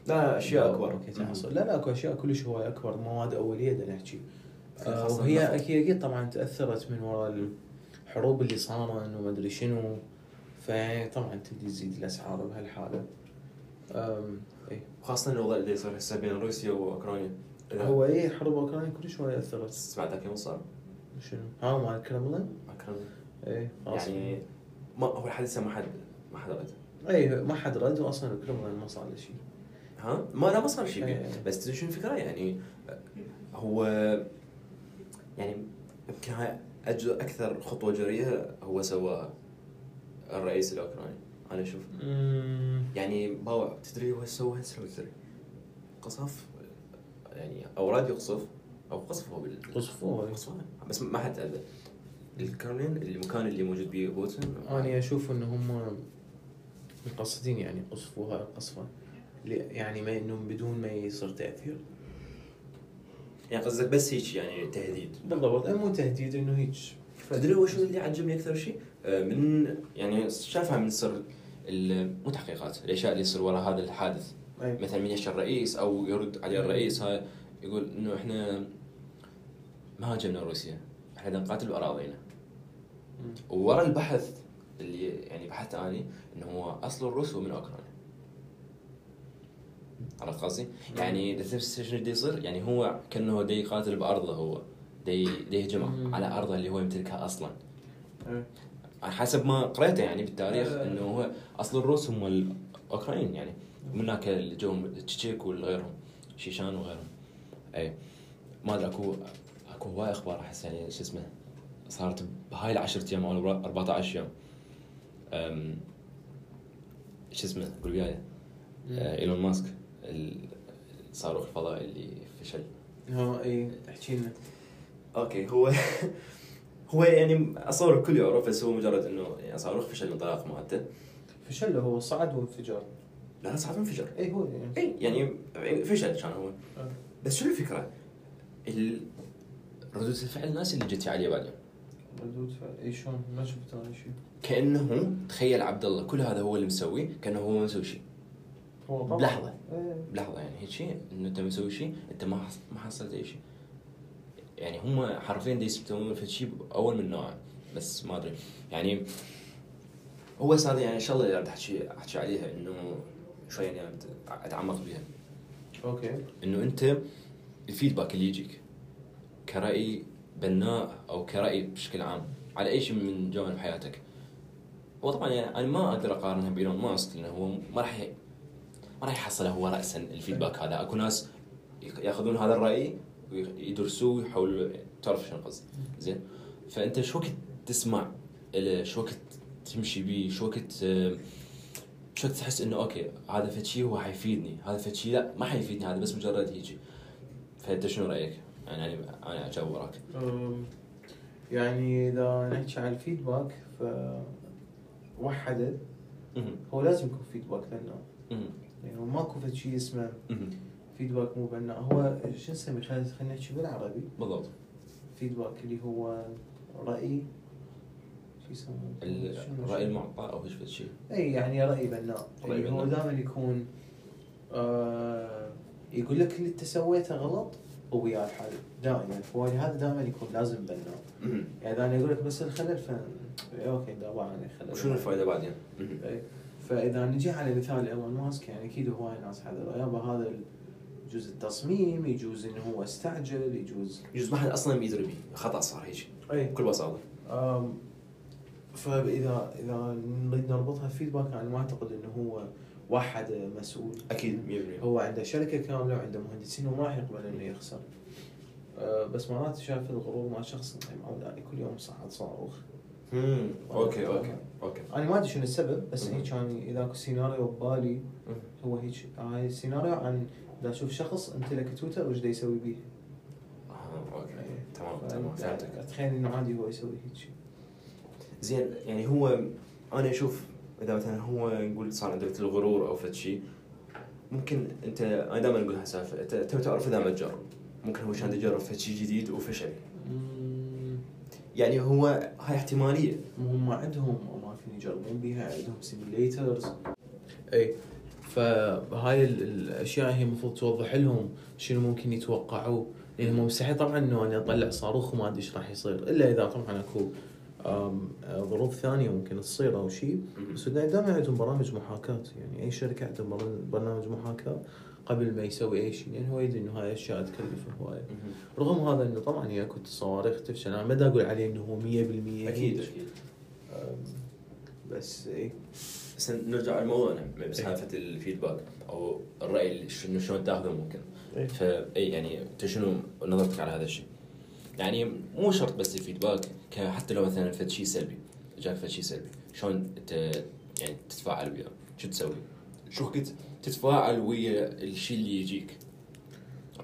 Speaker 1: لا اشياء
Speaker 2: لو
Speaker 1: اكبر
Speaker 2: أوكي تحصل لا لا اكو اشياء كلش هواي اكبر مواد اوليه بدنا نحكي آه،
Speaker 1: خاصة
Speaker 2: وهي
Speaker 1: النفط.
Speaker 2: اكيد اكيد طبعا تاثرت من وراء الحروب اللي صارن وما ادري شنو فيعني طبعا تبدي تزيد الاسعار بهالحاله أم، إيه.
Speaker 1: خاصه الوضع اللي صار هسه بين روسيا واوكرانيا إذا
Speaker 2: هو ايه حرب اوكرانيا كلش هواي اثرت
Speaker 1: سمعت ذاك يوم صار
Speaker 2: شنو ها مال الكرملين
Speaker 1: اوكرانيا
Speaker 2: ايه أصلاً.
Speaker 1: يعني ما هو لحد هسه ما حد ما حد رد
Speaker 2: ايه ما حد رد واصلا الكرملين ما صار له شيء
Speaker 1: ها ما لا ما صار شيء
Speaker 2: إيه.
Speaker 1: بيه. بس تدري شنو الفكره يعني هو يعني يمكن هاي أج- اكثر خطوه جريئه هو سواها الرئيس الاوكراني انا اشوف يعني باوع تدري هو سوى هسه لو تدري قصف يعني او راد يقصف او قصف هو بال
Speaker 2: قصفوه إيه.
Speaker 1: قصفان بس ما حد تأذى الكرملين المكان اللي موجود بيه بوتين
Speaker 2: أنا أشوف إن هم مقصدين يعني قصفوها قصفة ل- يعني ما إنهم بدون ما يصير تأثير
Speaker 1: يعني قصدك بس هيك يعني تهديد
Speaker 2: بالضبط مو تهديد إنه هيك
Speaker 1: تدري هو شنو اللي عجبني اكثر شيء؟ آه، من يعني شافها من سر ال- مو تحقيقات الاشياء اللي يصير ورا هذا الحادث
Speaker 2: أي.
Speaker 1: مثلا من يشي الرئيس او يرد عليه الرئيس هاي يقول انه احنا ما هاجمنا روسيا احنا بدنا نقاتل باراضينا
Speaker 2: مم.
Speaker 1: وورا البحث اللي يعني بحثت اني انه هو اصل الروس هو من اوكرانيا عرفت قصدي؟ يعني إذا تفس شنو اللي يصير يعني هو كانه دي يقاتل بارضه هو دي دي يهجمها
Speaker 2: مم.
Speaker 1: على ارضه اللي هو يمتلكها اصلا
Speaker 2: أي.
Speaker 1: على حسب ما قريته يعني بالتاريخ
Speaker 2: آه.
Speaker 1: انه هو اصل الروس هم الاوكرانيين يعني من هناك اللي جوهم التشيك وغيرهم شيشان وغيرهم اي ما ادري اكو اكو هواي اخبار احس يعني شو اسمه صارت بهاي العشرة ايام او الأربع- 14 يوم أم، شو اسمه قول وياي
Speaker 2: مم.
Speaker 1: آه، ايلون ماسك ال- الصاروخ الفضائي اللي فشل
Speaker 2: ها إي احكي لنا
Speaker 1: اوكي هو هو يعني اصور الكل يعرف بس هو مجرد انه يعني صاروخ فشل الانطلاق مالته
Speaker 2: فشل هو صعد وانفجر
Speaker 1: لا صعب انفجر
Speaker 2: إي هو يعني
Speaker 1: اي يعني فشل كان هو
Speaker 2: آه.
Speaker 1: بس شنو الفكره؟ ال- ردود الفعل الناس اللي جت عليه بعدين
Speaker 2: ردود فعل إي إيه، شلون ما شفت أنا شيء
Speaker 1: كانه تخيل عبد الله كل هذا هو اللي مسويه كانه هو ما مسوي شيء
Speaker 2: هو إيه. طبعاً-
Speaker 1: بلحظة.
Speaker 2: إي.
Speaker 1: بلحظه يعني هيك شيء انه انت مسوي شيء انت ما حص- ما حصلت اي شيء يعني هم حرفيا دي يسبتون في شيء اول من نوعه بس ما ادري يعني هو صار يعني الشغله اللي بدي احكي احكي عليها انه شوي يعني أت- اتعمق بيها
Speaker 2: أوكي
Speaker 1: انه انت الفيدباك اللي يجيك كراي بناء او كراي بشكل عام على اي شيء من جوانب حياتك وطبعا يعني انا ما اقدر اقارنها بايلون ماسك لانه هو ما راح ي- ما راح يحصله هو راسا الفيدباك هذا اكو ناس يق- ياخذون هذا الراي ويدرسوه ويحاولوا تعرف شنو قصدي زين فانت شو وقت تسمع له، شو وقت تمشي بيه شو وقت آه، شو وقت تحس انه اوكي هذا فد شيء هو حيفيدني هذا فد شيء لا ما حيفيدني هذا بس مجرد هيجي فانت شنو رايك؟ يعني انا انا اجاوب وراك
Speaker 2: أم، يعني إذا نحكي على الفيدباك ف وحدت
Speaker 1: مهم.
Speaker 2: هو لازم يكون فيدباك لأنه
Speaker 1: مهم.
Speaker 2: يعني ماكو فد شيء اسمه
Speaker 1: مهم.
Speaker 2: فيدباك مو بناء هو شو نسمي خلينا خلينا نحكي بالعربي
Speaker 1: بالضبط
Speaker 2: فيدباك اللي هو رأي شو يسمونه شنو-
Speaker 1: الراي المعطى او ايش فد شيء
Speaker 2: اي يعني رأي بناء
Speaker 1: رأي
Speaker 2: اللي هو
Speaker 1: بناء.
Speaker 2: دائما يكون آه يقول لك اللي انت سويته غلط
Speaker 3: ويا الحل دائما فوالي هذا دائما يكون لازم بناء يعني اذا انا اقول لك بس الخلل ف اوكي ده عباره عن خلل
Speaker 1: وشنو الفائده بعدين؟
Speaker 2: إيه.
Speaker 3: إي. فاذا إيه. نجي على مثال ايلون ماسك يعني اكيد هواي ناس حذروا يابا هذا يجوز التصميم يجوز انه هو استعجل يجوز
Speaker 1: يجوز ما حد اصلا بيدري بيه خطا صار هيك
Speaker 3: اي
Speaker 1: بكل بساطه
Speaker 3: أم، فاذا اذا نريد نربطها فيدباك انا ما اعتقد انه هو واحد مسؤول
Speaker 1: اكيد 100%
Speaker 3: هو عنده شركه كامله وعنده مهندسين وما راح يقبل انه يخسر أه، بس مرات شايف الغرور مع شخص أنت معود عليه كل يوم صعد صاروخ
Speaker 1: مم. اوكي اوكي اوكي
Speaker 3: انا ما ادري شنو السبب بس
Speaker 1: مم.
Speaker 3: هيك كان اذا اكو سيناريو ببالي هو هيك هاي السيناريو آه، عن دا اشوف شخص امتلك تويتر وش دا يسوي بيه
Speaker 1: آه، اوكي
Speaker 3: إيه.
Speaker 1: تمام تمام
Speaker 3: فأنا
Speaker 1: فهمتك
Speaker 3: اتخيل انه عادي هو يسوي هيك شيء
Speaker 1: زين يعني هو انا اشوف اذا مثلا هو نقول صار عندك الغرور او فد شيء ممكن انت انا دائما اقول هالسالفه انت تو تعرف اذا ما تجرب ممكن هو كان يجرب فد شيء جديد وفشل يعني هو هاي احتماليه
Speaker 3: هم عندهم اماكن يجربون بيها عندهم سيميليترز
Speaker 2: اي إيه، فهاي ال- الاشياء هي المفروض توضح لهم شنو ممكن يتوقعوه لان هم مستحيل طبعا انه انا اطلع صاروخ وما ادري ايش راح يصير الا اذا طبعا اكو آم، آه، ظروف ثانيه ممكن تصير او شيء بس دا- دائما عندهم برامج محاكاه يعني اي شركه عندهم برا- برنامج محاكاه قبل ما يسوي اي شيء لان هو يدري انه هاي الاشياء تكلفه هوايه رغم هذا انه طبعا هي اكو صواريخ تفشل انا ما دا اقول عليه انه هو 100%
Speaker 1: اكيد اكيد
Speaker 3: أم، بس اي
Speaker 1: بس نرجع لموضوعنا بس
Speaker 2: إيه.
Speaker 1: سالفه الفيدباك او الراي اللي شنو شلون تاخذه ممكن
Speaker 3: إيه.
Speaker 1: فاي يعني انت شنو نظرتك على هذا الشيء؟ يعني مو شرط بس الفيدباك ك- حتى لو مثلا فد شيء سلبي جاك فد شيء سلبي شلون انت يعني تتفاعل وياه؟ شو تسوي؟ شو كنت تتفاعل ويا الشيء اللي يجيك؟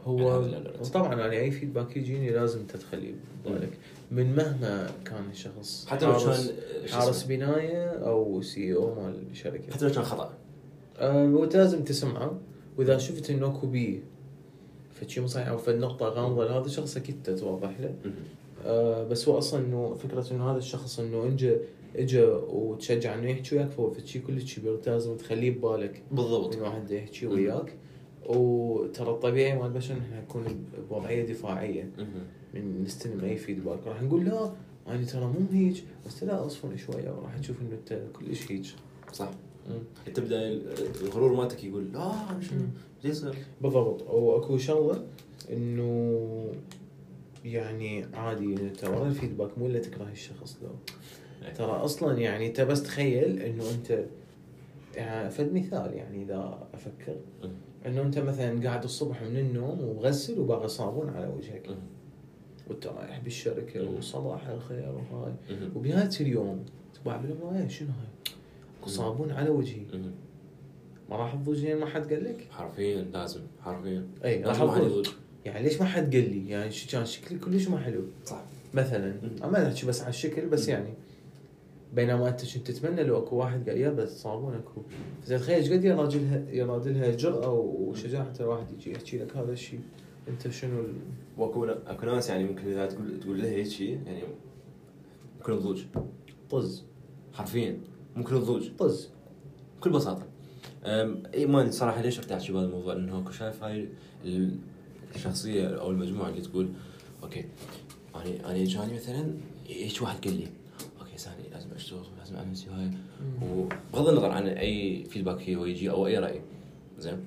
Speaker 2: هو
Speaker 1: يعني هذا لا- لا- لا.
Speaker 2: طبعا انا اي فيدباك يجيني لازم تدخلي ببالك من مهما كان الشخص
Speaker 1: حتى لو كان
Speaker 2: حارس-
Speaker 1: شو
Speaker 2: حارس
Speaker 1: اسمه؟
Speaker 2: بنايه او سي او E مال شركه
Speaker 1: حتى لو كان خطا
Speaker 2: أه وأنت لازم تسمعه واذا شفت انه اكو بيه فشي مو صحيح او في النقطه غامضه لهذا الشخص اكيد تتوضح له أه بس هو اصلا انه فكره انه هذا الشخص انه انجا اجى وتشجع انه يحكي وياك فهو فشي كلش كبير أنت لازم تخليه ببالك
Speaker 1: بالضبط
Speaker 2: من واحد يحكي وياك وترى الطبيعي مال البشر احنا نكون بوضعيه دفاعيه من نستلم اي فيدباك راح نقول لا انا ترى مو هيج بس لا اصفن شويه وراح تشوف انه انت كلش هيج
Speaker 1: صح تبدا ال- الغرور مالتك يقول لا شنو زي يصير
Speaker 2: بالضبط واكو شغله انه يعني عادي إنه انت ورا الفيدباك مو الا تكره الشخص لو
Speaker 1: إيه.
Speaker 2: ترى اصلا يعني انت بس تخيل انه انت يعني فد مثال يعني اذا افكر انه انت مثلا قاعد الصبح من النوم ومغسل وباغي صابون على وجهك وانت رايح بالشركه وصباح الخير وهاي وبنهايه اليوم تبع بالمرايه إيه، شنو هاي؟ اكو صابون على وجهي ما راح تضوج لين ما حد قال لك؟
Speaker 1: حرفيا لازم حرفيا
Speaker 2: اي راح
Speaker 1: لازم واحد
Speaker 2: اضوج
Speaker 1: يضوج
Speaker 2: يعني ليش ما حد قال لي؟ يعني ش- كان شكلي كلش ما حلو
Speaker 1: صح
Speaker 2: مثلا
Speaker 1: مم.
Speaker 2: أنا ما احكي بس على الشكل بس
Speaker 1: مم.
Speaker 2: يعني بينما انت كنت تتمنى لو اكو واحد قال يلا صابون اكو زين تخيل ايش قد ينادلها ينادلها جرأه وشجاعه الواحد يجي يحكي لك هذا الشيء انت شنو ال...
Speaker 1: واكو اكو ناس يعني ممكن اذا تقول تقول له هيك شيء يعني ممكن تضوج
Speaker 2: طز
Speaker 1: حرفيا ممكن تضوج
Speaker 2: طز
Speaker 1: بكل بساطه أم، اي ما أدري صراحه ليش رحت احكي بهذا الموضوع لانه اكو شايف هاي ال- الشخصيه او المجموعه اللي تقول اوكي انا انا جاني مثلا هيك واحد قال لي اوكي ساني لازم اشتغل لازم اعمل شي هاي وبغض النظر عن اي فيدباك هو يجي او اي راي زين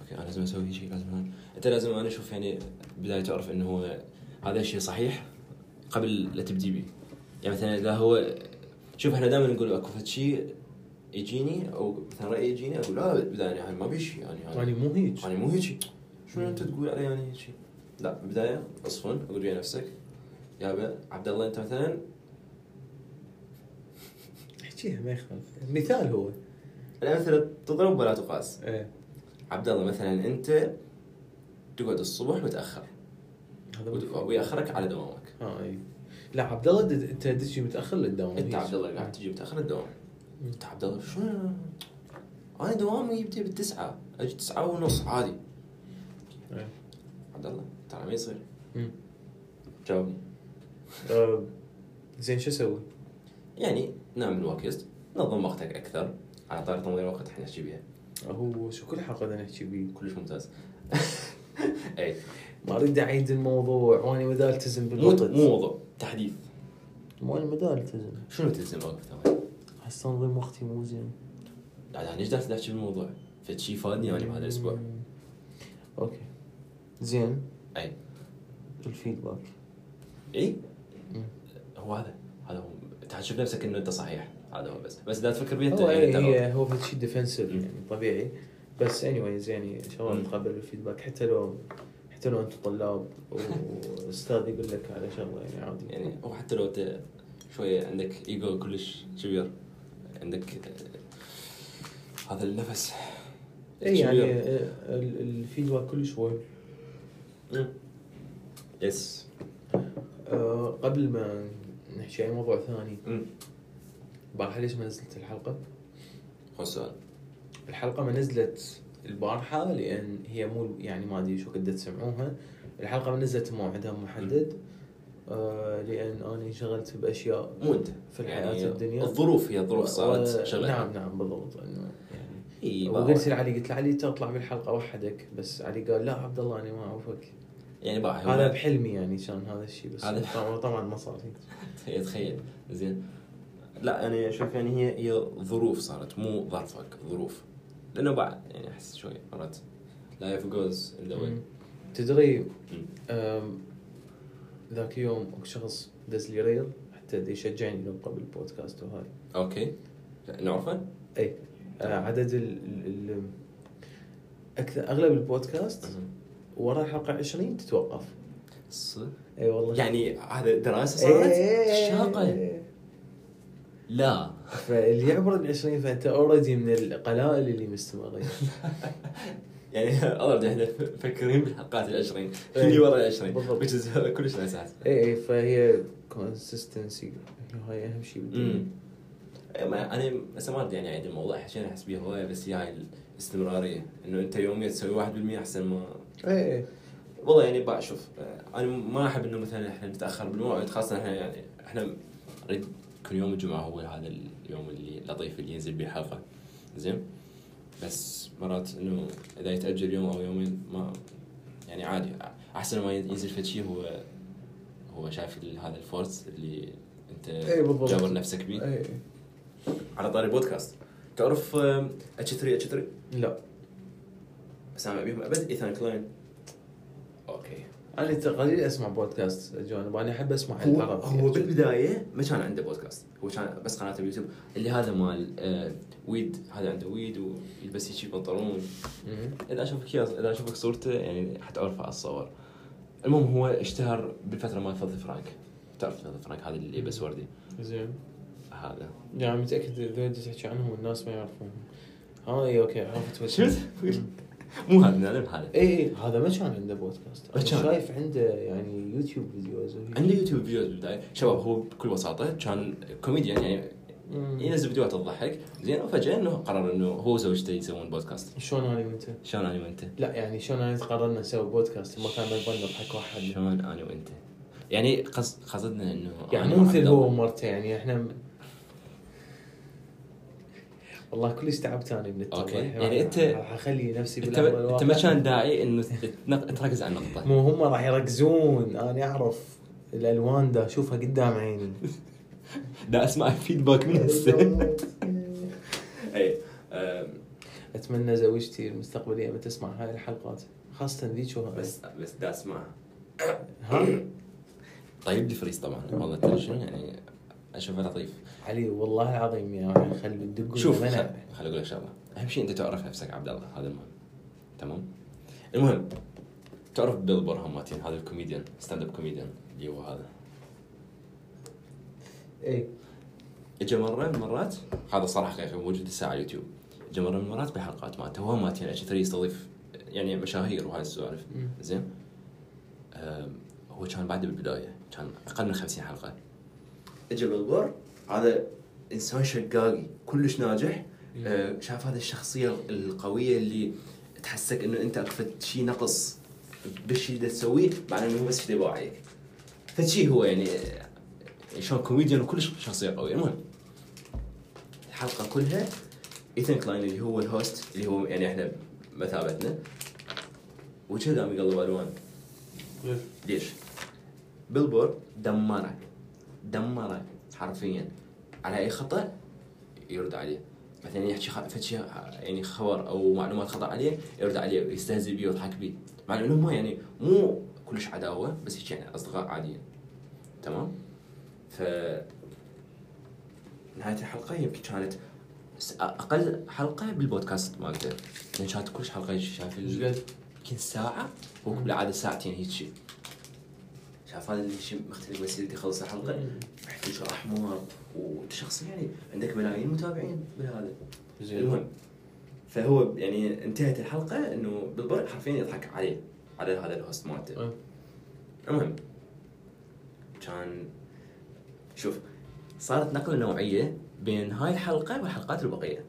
Speaker 1: اوكي انا لازم اسوي شيء لازم هاي. انت لازم انا اشوف يعني بدايه تعرف انه هو هذا الشيء صحيح قبل لا تبدي به يعني مثلا اذا هو شوف احنا دائما نقول اكو فد شيء يجيني او مثلا راي يجيني اقول لا بالبدايه يعني ما بيشي يعني
Speaker 2: يعني مو هيج
Speaker 1: انا مو هيجي شنو انت تقول علي انا هيجي لا بدايه اصفن اقول ويا نفسك يابا عبد الله انت مثلا
Speaker 2: احكيها ما يخالف مثال هو
Speaker 1: الامثله تضرب ولا تقاس
Speaker 2: ايه
Speaker 1: عبد الله مثلا انت تقعد الصبح متاخر
Speaker 2: هذا
Speaker 1: وت-
Speaker 2: مو-
Speaker 1: وياخرك على دوامك
Speaker 2: ها اي لا عبد الله دد- انت تجي متاخر للدوام
Speaker 1: انت
Speaker 2: هيج.
Speaker 1: عبد الله قاعد تجي متاخر الدوام انت عبد الله شنو انا دوامي يبدي بالتسعه اجي تسعه ونص عادي
Speaker 2: إيه.
Speaker 1: عبد الله ترى ما يصير
Speaker 2: مم.
Speaker 1: جاوبني
Speaker 2: آه، زين شو اسوي؟
Speaker 1: يعني نام من وقت نظم وقتك اكثر على طاري تنظيم الوقت احنا نحكي بيها
Speaker 2: هو شو كل حلقه بدنا نحكي بيه
Speaker 1: كلش ممتاز اي
Speaker 2: ما اريد اعيد الموضوع واني مدى التزم
Speaker 1: إيه. مو
Speaker 2: بالوقت
Speaker 1: مو موضوع تحديث
Speaker 2: واني مدى التزم
Speaker 1: شنو تلزم اوقف تمام
Speaker 2: احس تنظيم وقتي مو زين
Speaker 1: يعني ليش داس تحكي بالموضوع؟ فشي فادني يعني بهذا الاسبوع
Speaker 2: مم. اوكي زين
Speaker 1: اي
Speaker 2: الفيدباك
Speaker 1: اي
Speaker 2: مم.
Speaker 1: إيه؟ هو هذا هذا هو انت حتشوف نفسك انه انت صحيح هذا هو بس بس اذا تفكر بيه انت
Speaker 2: هو
Speaker 1: إيه،
Speaker 2: هي
Speaker 1: انت غلط.
Speaker 2: هي هو فد شيء ديفنسيف
Speaker 1: مم.
Speaker 2: يعني طبيعي بس اني وايز يعني ان شاء الله
Speaker 1: مم.
Speaker 2: نتقبل الفيدباك حتى لو حتى لو انتم طلاب واستاذ يقول لك على شغله يعني عادي
Speaker 1: يعني او حتى لو انت شويه عندك ايجو كلش كبير عندك آه، هذا النفس
Speaker 2: اي يعني
Speaker 1: كبير.
Speaker 2: آه، ال- الفيدباك كل شوي
Speaker 1: مم. إيه. يس
Speaker 2: آه، قبل ما نحكي اي موضوع ثاني
Speaker 1: مم.
Speaker 2: البارحه ليش ما نزلت الحلقه؟
Speaker 1: هو السؤال
Speaker 2: الحلقه ما نزلت البارحه لان هي مو يعني ما ادري شو قد تسمعوها الحلقه ما نزلت موعدها محدد آه، لان انا انشغلت باشياء
Speaker 1: مو انت
Speaker 2: في الحياة الدنيا.
Speaker 1: يعني الظروف هي الظروف صارت
Speaker 2: و-
Speaker 1: شغله
Speaker 2: نعم نعم بالضبط انه يعني
Speaker 1: اي
Speaker 2: وقلت
Speaker 1: باع.
Speaker 2: لعلي قلت لعلي تطلع بالحلقه وحدك بس علي قال لا عبد الله انا ما اعرفك
Speaker 1: يعني باع هو-
Speaker 2: هذا بحلمي يعني كان هذا الشيء بس
Speaker 1: هذا-
Speaker 2: طبعا طبعا ما صار هيك
Speaker 1: هي تخيل زين لا انا اشوف يعني هي هي ظروف صارت مو ظرفك ظروف لانه بعد يعني احس شوي مرات لايف جوز ان ذا واي
Speaker 2: مم. تدري أم، ذاك يوم اكو شخص دز لي ريل حتى دي يشجعني لو قبل البودكاست وهاي
Speaker 1: اوكي نعرفه؟
Speaker 2: اي آه، عدد ال, ال, ال اكثر اغلب البودكاست ورا الحلقه 20 تتوقف
Speaker 1: ص-
Speaker 2: اي والله
Speaker 1: يعني هذا دراسه
Speaker 2: إيه،
Speaker 1: صارت؟
Speaker 2: إيه، إيه،
Speaker 1: شاقه
Speaker 2: إيه.
Speaker 1: لا
Speaker 2: فاللي يعبر ال 20 فانت اوريدي من القلائل اللي مستمرين
Speaker 1: يعني اوريدي احنا مفكرين بالحلقات ال 20
Speaker 2: إيه.
Speaker 1: اللي ورا ال 20
Speaker 2: بالضبط.
Speaker 1: which is كلش نايس احس
Speaker 2: اي اي إيه، فهي كونسستنسي هاي اهم شيء بالدنيا.
Speaker 1: امم ما- انا هسه ما ادري يعني عندي الموضوع حشين احس بيه هوايه بس يعني هي هاي الاستمراريه انه انت يوميا تسوي 1% احسن ما
Speaker 2: اي اي
Speaker 1: والله يعني بشوف انا ما احب انه مثلا احنا نتاخر بالموعد خاصه احنا يعني احنا نريد كل يوم الجمعه هو هذا اليوم اللي لطيف اللي ينزل به حلقه زين بس مرات انه اذا يتاجل يوم او يومين ما يعني عادي احسن ما ينزل فد شيء هو هو شايف ال- هذا الفورس اللي انت
Speaker 2: إي إيه، بالضبط. إيه.
Speaker 1: جابر نفسك
Speaker 2: اي
Speaker 1: بيه
Speaker 2: إي.
Speaker 1: على طاري بودكاست تعرف اتش 3 اتش 3
Speaker 2: لا
Speaker 1: سامع بيهم ابد ايثان كلاين اوكي
Speaker 2: انا ت- قليل اسمع بودكاست اجانب انا احب اسمع
Speaker 1: هو,
Speaker 2: العرب
Speaker 1: هو بالبدايه ما كان عنده بودكاست هو كان بس قناته باليوتيوب اللي هذا مال آه ويد هذا عنده ويد ويلبس هيك بنطلون
Speaker 2: مم.
Speaker 1: اذا اشوفك ياس- اذا اشوفك صورته يعني حتعرفه اتصور المهم هو اشتهر بالفتره مال فضل فرانك تعرف فضل فرانك هذا اللي يلبس وردي
Speaker 2: زين
Speaker 1: هذا
Speaker 2: يعني متاكد اذا بدي تحكي عنهم الناس ما يعرفونهم هاي اوكي عرفت وش-
Speaker 1: شفت؟
Speaker 2: مم.
Speaker 1: مو هذا نعلم هذا
Speaker 2: اي اي هذا ما كان عنده بودكاست
Speaker 1: ما
Speaker 2: انا
Speaker 1: كان.
Speaker 2: شايف عنده يعني يوتيوب فيديوز وهي-
Speaker 1: عنده يوتيوب فيديوز بالبدايه شباب هو بكل بساطه كان كوميديان يعني
Speaker 2: مم.
Speaker 1: ينزل فيديوهات تضحك زين وفجاه انه قرر انه هو وزوجته يسوون بودكاست
Speaker 2: شلون انا وانت؟
Speaker 1: شلون انا وانت؟
Speaker 2: لا يعني شلون انا قررنا نسوي بودكاست ما كان نبغى نضحك واحد
Speaker 1: شلون انا وانت يعني قصد قصدنا انه
Speaker 2: يعني
Speaker 1: أنا
Speaker 2: مو مثل
Speaker 1: وعبد
Speaker 2: هو
Speaker 1: الله.
Speaker 2: ومرته يعني احنا م- والله كلش تعبت انا من التضحية.
Speaker 1: أوكي. يعني أنت-
Speaker 2: راح اخلي نفسي
Speaker 1: انت
Speaker 2: بالأمر
Speaker 1: انت ما
Speaker 2: الواقع.
Speaker 1: كان داعي انه تنق- تركز على النقطه
Speaker 2: مو هم راح يركزون انا اعرف الالوان دا اشوفها قدام عيني
Speaker 1: دا اسمع فيدباك من هسه اي أم،
Speaker 2: اتمنى زوجتي المستقبليه ما تسمع هاي الحلقات خاصه ذيك وهاي
Speaker 1: بس بس دا اسمع
Speaker 2: ها
Speaker 1: طيب لي فريز طبعا والله ترى شنو يعني اشوفه لطيف
Speaker 2: علي والله العظيم يا راح نخلي الدق
Speaker 1: شوف خل
Speaker 2: والمنع.
Speaker 1: خل اقول لك شغله اهم شيء انت تعرف نفسك عبد الله هذا المهم تمام المهم تعرف بيل برهم ماتين هذا الكوميديان ستاند اب كوميديان اللي هو هذا
Speaker 2: ايه
Speaker 1: اجى مره من المرات هذا صراحه حقيقي موجود الساعه على اليوتيوب اجى مره من المرات بحلقات مالته هو مالتين اتش 3 يستضيف يعني مشاهير وهاي السوالف
Speaker 2: مم.
Speaker 1: زين آم، هو كان بعد بالبدايه كان اقل من 50 حلقه اجى بالبور هذا انسان شقاقي كلش ناجح آه، شاف هذا الشخصيه القويه اللي تحسك انه انت اكفت شيء نقص بالشيء اللي تسويه مع انه هو بس كذي باع عليك فشي هو يعني آه، شلون كوميديان وكلش شخصيه قويه المهم الحلقه كلها ايثن كلاين اللي هو الهوست اللي هو يعني احنا مثابتنا وجهه قام يقلب الوان ليش؟ بيلبورد دمرك دمرك حرفيا على اي خطا يرد عليه مثلا يحكي خ... فد شيء يعني خبر او معلومات خطا عليه يرد عليه ويستهزئ بيه ويضحك بيه مع انه هم يعني مو كلش عداوه بس هيك يعني اصدقاء عاديين تمام؟ ف نهايه الحلقه يمكن كانت س- اقل حلقه بالبودكاست مالته لان كانت كلش حلقه شايف ال-
Speaker 2: شقد؟
Speaker 1: يمكن ساعه هو بالعاده ساعتين هيك شيء شايف هذا الشيء مختلف بس اللي تخلص الحلقه
Speaker 2: مم.
Speaker 1: محتاج احمر وانت شخص يعني عندك ملايين متابعين بالهذا
Speaker 2: زين
Speaker 1: المهم فهو يعني انتهت الحلقه انه بالبر حرفيا يضحك عليه على هذا الهوست مالته
Speaker 2: أه.
Speaker 1: المهم كان شوف صارت نقله نوعيه بين هاي الحلقه والحلقات البقيه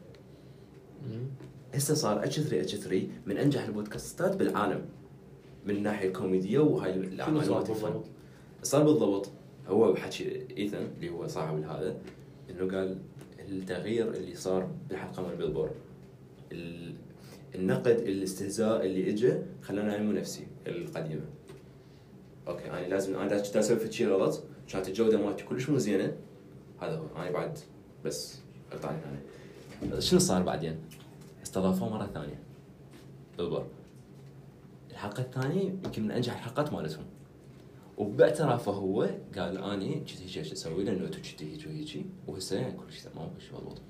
Speaker 2: مم.
Speaker 1: هسه صار اتش 3 اتش 3 من انجح البودكاستات بالعالم من الناحيه الكوميديه وهاي
Speaker 2: شنو
Speaker 1: الاعمال
Speaker 2: صار
Speaker 1: اللطيفة.
Speaker 2: بالضبط؟
Speaker 1: صار بالضبط هو بحكي ايثن اللي هو صاحب هذا انه قال التغيير اللي صار بالحلقه مال بيلبورد ال- النقد الاستهزاء اللي اجى خلاني انمو نفسي القديمه اوكي انا لازم انا دا- دا اسوي شيء غلط كانت الجوده مالتي كلش مو زينه هذا هو انا بعد بس اقطعني انا شنو صار بعدين؟ استضافوه مره ثانيه بالبورد الحلقه الثانيه يمكن من انجح الحلقات مالتهم وباعترافه هو قال اني كنت هيك ايش اسوي لانه انتم كنت هيك وهيك وهسه يعني كل شيء تمام كل شيء مضبوط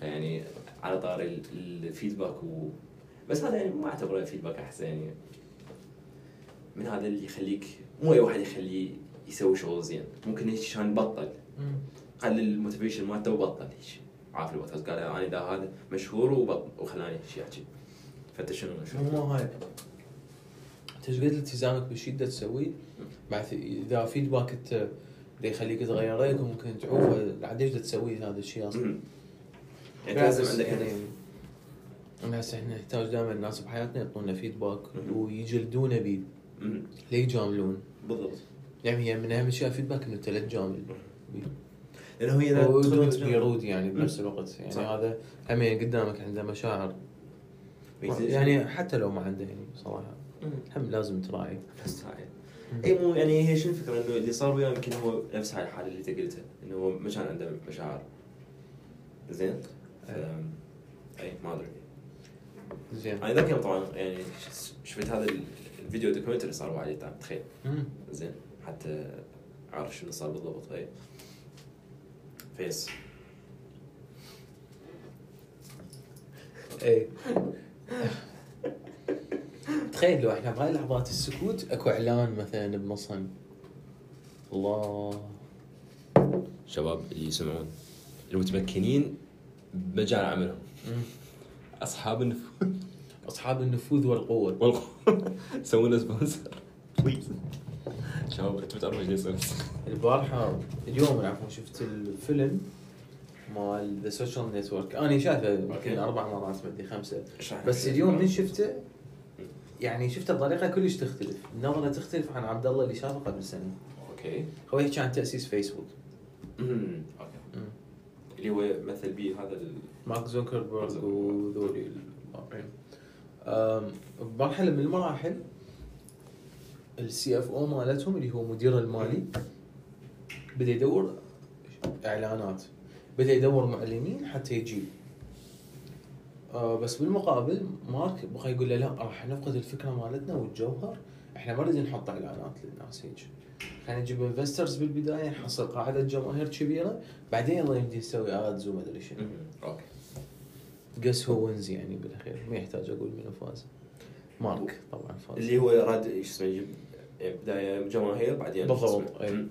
Speaker 1: فيعني على طار ال- الفيدباك و بس هذا يعني ما اعتبره فيدباك احسن يعني من هذا اللي يخليك مو اي واحد يخليه يسوي شغل زين ممكن هيك كان بطل
Speaker 3: مم.
Speaker 1: قلل الموتيفيشن مالته وبطل هيك عارف البودكاست قال انا دا هذا مشهور وبطل وخلاني هيك احكي فانت شنو
Speaker 3: شنو مو هاي
Speaker 2: انت ايش قد التزامك بالشيء دا تسويه؟ بعد اذا فيدباك انت دا يخليك تغير رايك وممكن تعوفه ليش دا تسوي هذا الشيء اصلا؟
Speaker 1: مم. يعني لازم
Speaker 2: بس
Speaker 1: عندك
Speaker 2: يعني
Speaker 1: هدف
Speaker 2: أنا هسه احنا نحتاج دائما الناس بحياتنا يعطونا فيدباك
Speaker 1: مم.
Speaker 2: ويجلدونا بيه
Speaker 1: مم.
Speaker 2: لا يجاملون
Speaker 1: بالضبط
Speaker 2: يعني هي من اهم الاشياء فيدباك انه انت لا تجامل
Speaker 1: لانه هي لا تدخل
Speaker 2: ودونت بي
Speaker 1: بالجو.
Speaker 2: رود يعني بنفس الوقت يعني
Speaker 1: صح.
Speaker 2: هذا هم يعني قدامك عنده مشاعر
Speaker 1: يكتشف.
Speaker 2: يعني حتى لو ما عنده يعني صراحه
Speaker 1: مم.
Speaker 2: هم لازم تراعي
Speaker 1: بس هاي اي مو يعني هي شنو الفكره انه اللي صار وياه يمكن هو نفس هاي الحاله اللي انت قلتها انه هو ما كان عنده مشاعر زين ف- اي ما ادري
Speaker 2: زين
Speaker 1: انا ذاك اليوم طبعا يعني ش- شفت هذا ال- الفيديو دوكيومنتري صار عليه تعال تخيل
Speaker 2: مم.
Speaker 1: زين حتى اعرف شنو صار بالضبط اي فيس
Speaker 2: اي تخيل لو احنا بهاي لحظات السكوت اكو اعلان مثلا بمصن الله
Speaker 1: شباب اللي يسمعون المتمكنين بمجال عملهم
Speaker 2: مم.
Speaker 1: اصحاب النفوذ
Speaker 2: اصحاب النفوذ والقوه
Speaker 1: سووا لنا سبونسر بليز شباب انتم تعرفون ايش يسوي
Speaker 2: البارحه اليوم عفوا شفت الفيلم مال ذا سوشيال نتورك انا شايفه يمكن
Speaker 1: أوكي.
Speaker 2: اربع مرات مدري خمسه بس اليوم من شفته يعني شفته بطريقه كلش تختلف، نظره تختلف عن عبد الله اللي شافه قبل سنه.
Speaker 1: اوكي
Speaker 2: هو يحكي عن تاسيس فيسبوك.
Speaker 1: أمم، اوكي اللي هو مثل بي هذا ال...
Speaker 2: مارك زوكربيرج
Speaker 1: زوكربيرج.
Speaker 2: وذولي آه، الباقيين. أم، بمرحله من المراحل السي اف او مالتهم اللي هو مدير المالي بدا يدور اعلانات بدا يدور معلنين حتى يجيب آه بس بالمقابل مارك بقى يقول له لا راح نفقد الفكره مالتنا والجوهر احنا ما نريد نحط اعلانات للناس هيك خلينا نجيب انفسترز بالبدايه نحصل قاعده جماهير كبيره بعدين يلا نبدي نسوي ادز وما ادري شنو
Speaker 1: أمم، اوكي
Speaker 2: قس هو وينز يعني بالاخير ما يحتاج اقول منو فاز مارك طبعا فاز
Speaker 1: اللي هو راد ايش اسمه يجيب إيه، بدايه جماهير بعدين
Speaker 2: بالضبط،
Speaker 1: شو اسمه؟
Speaker 2: أي.
Speaker 1: أمم،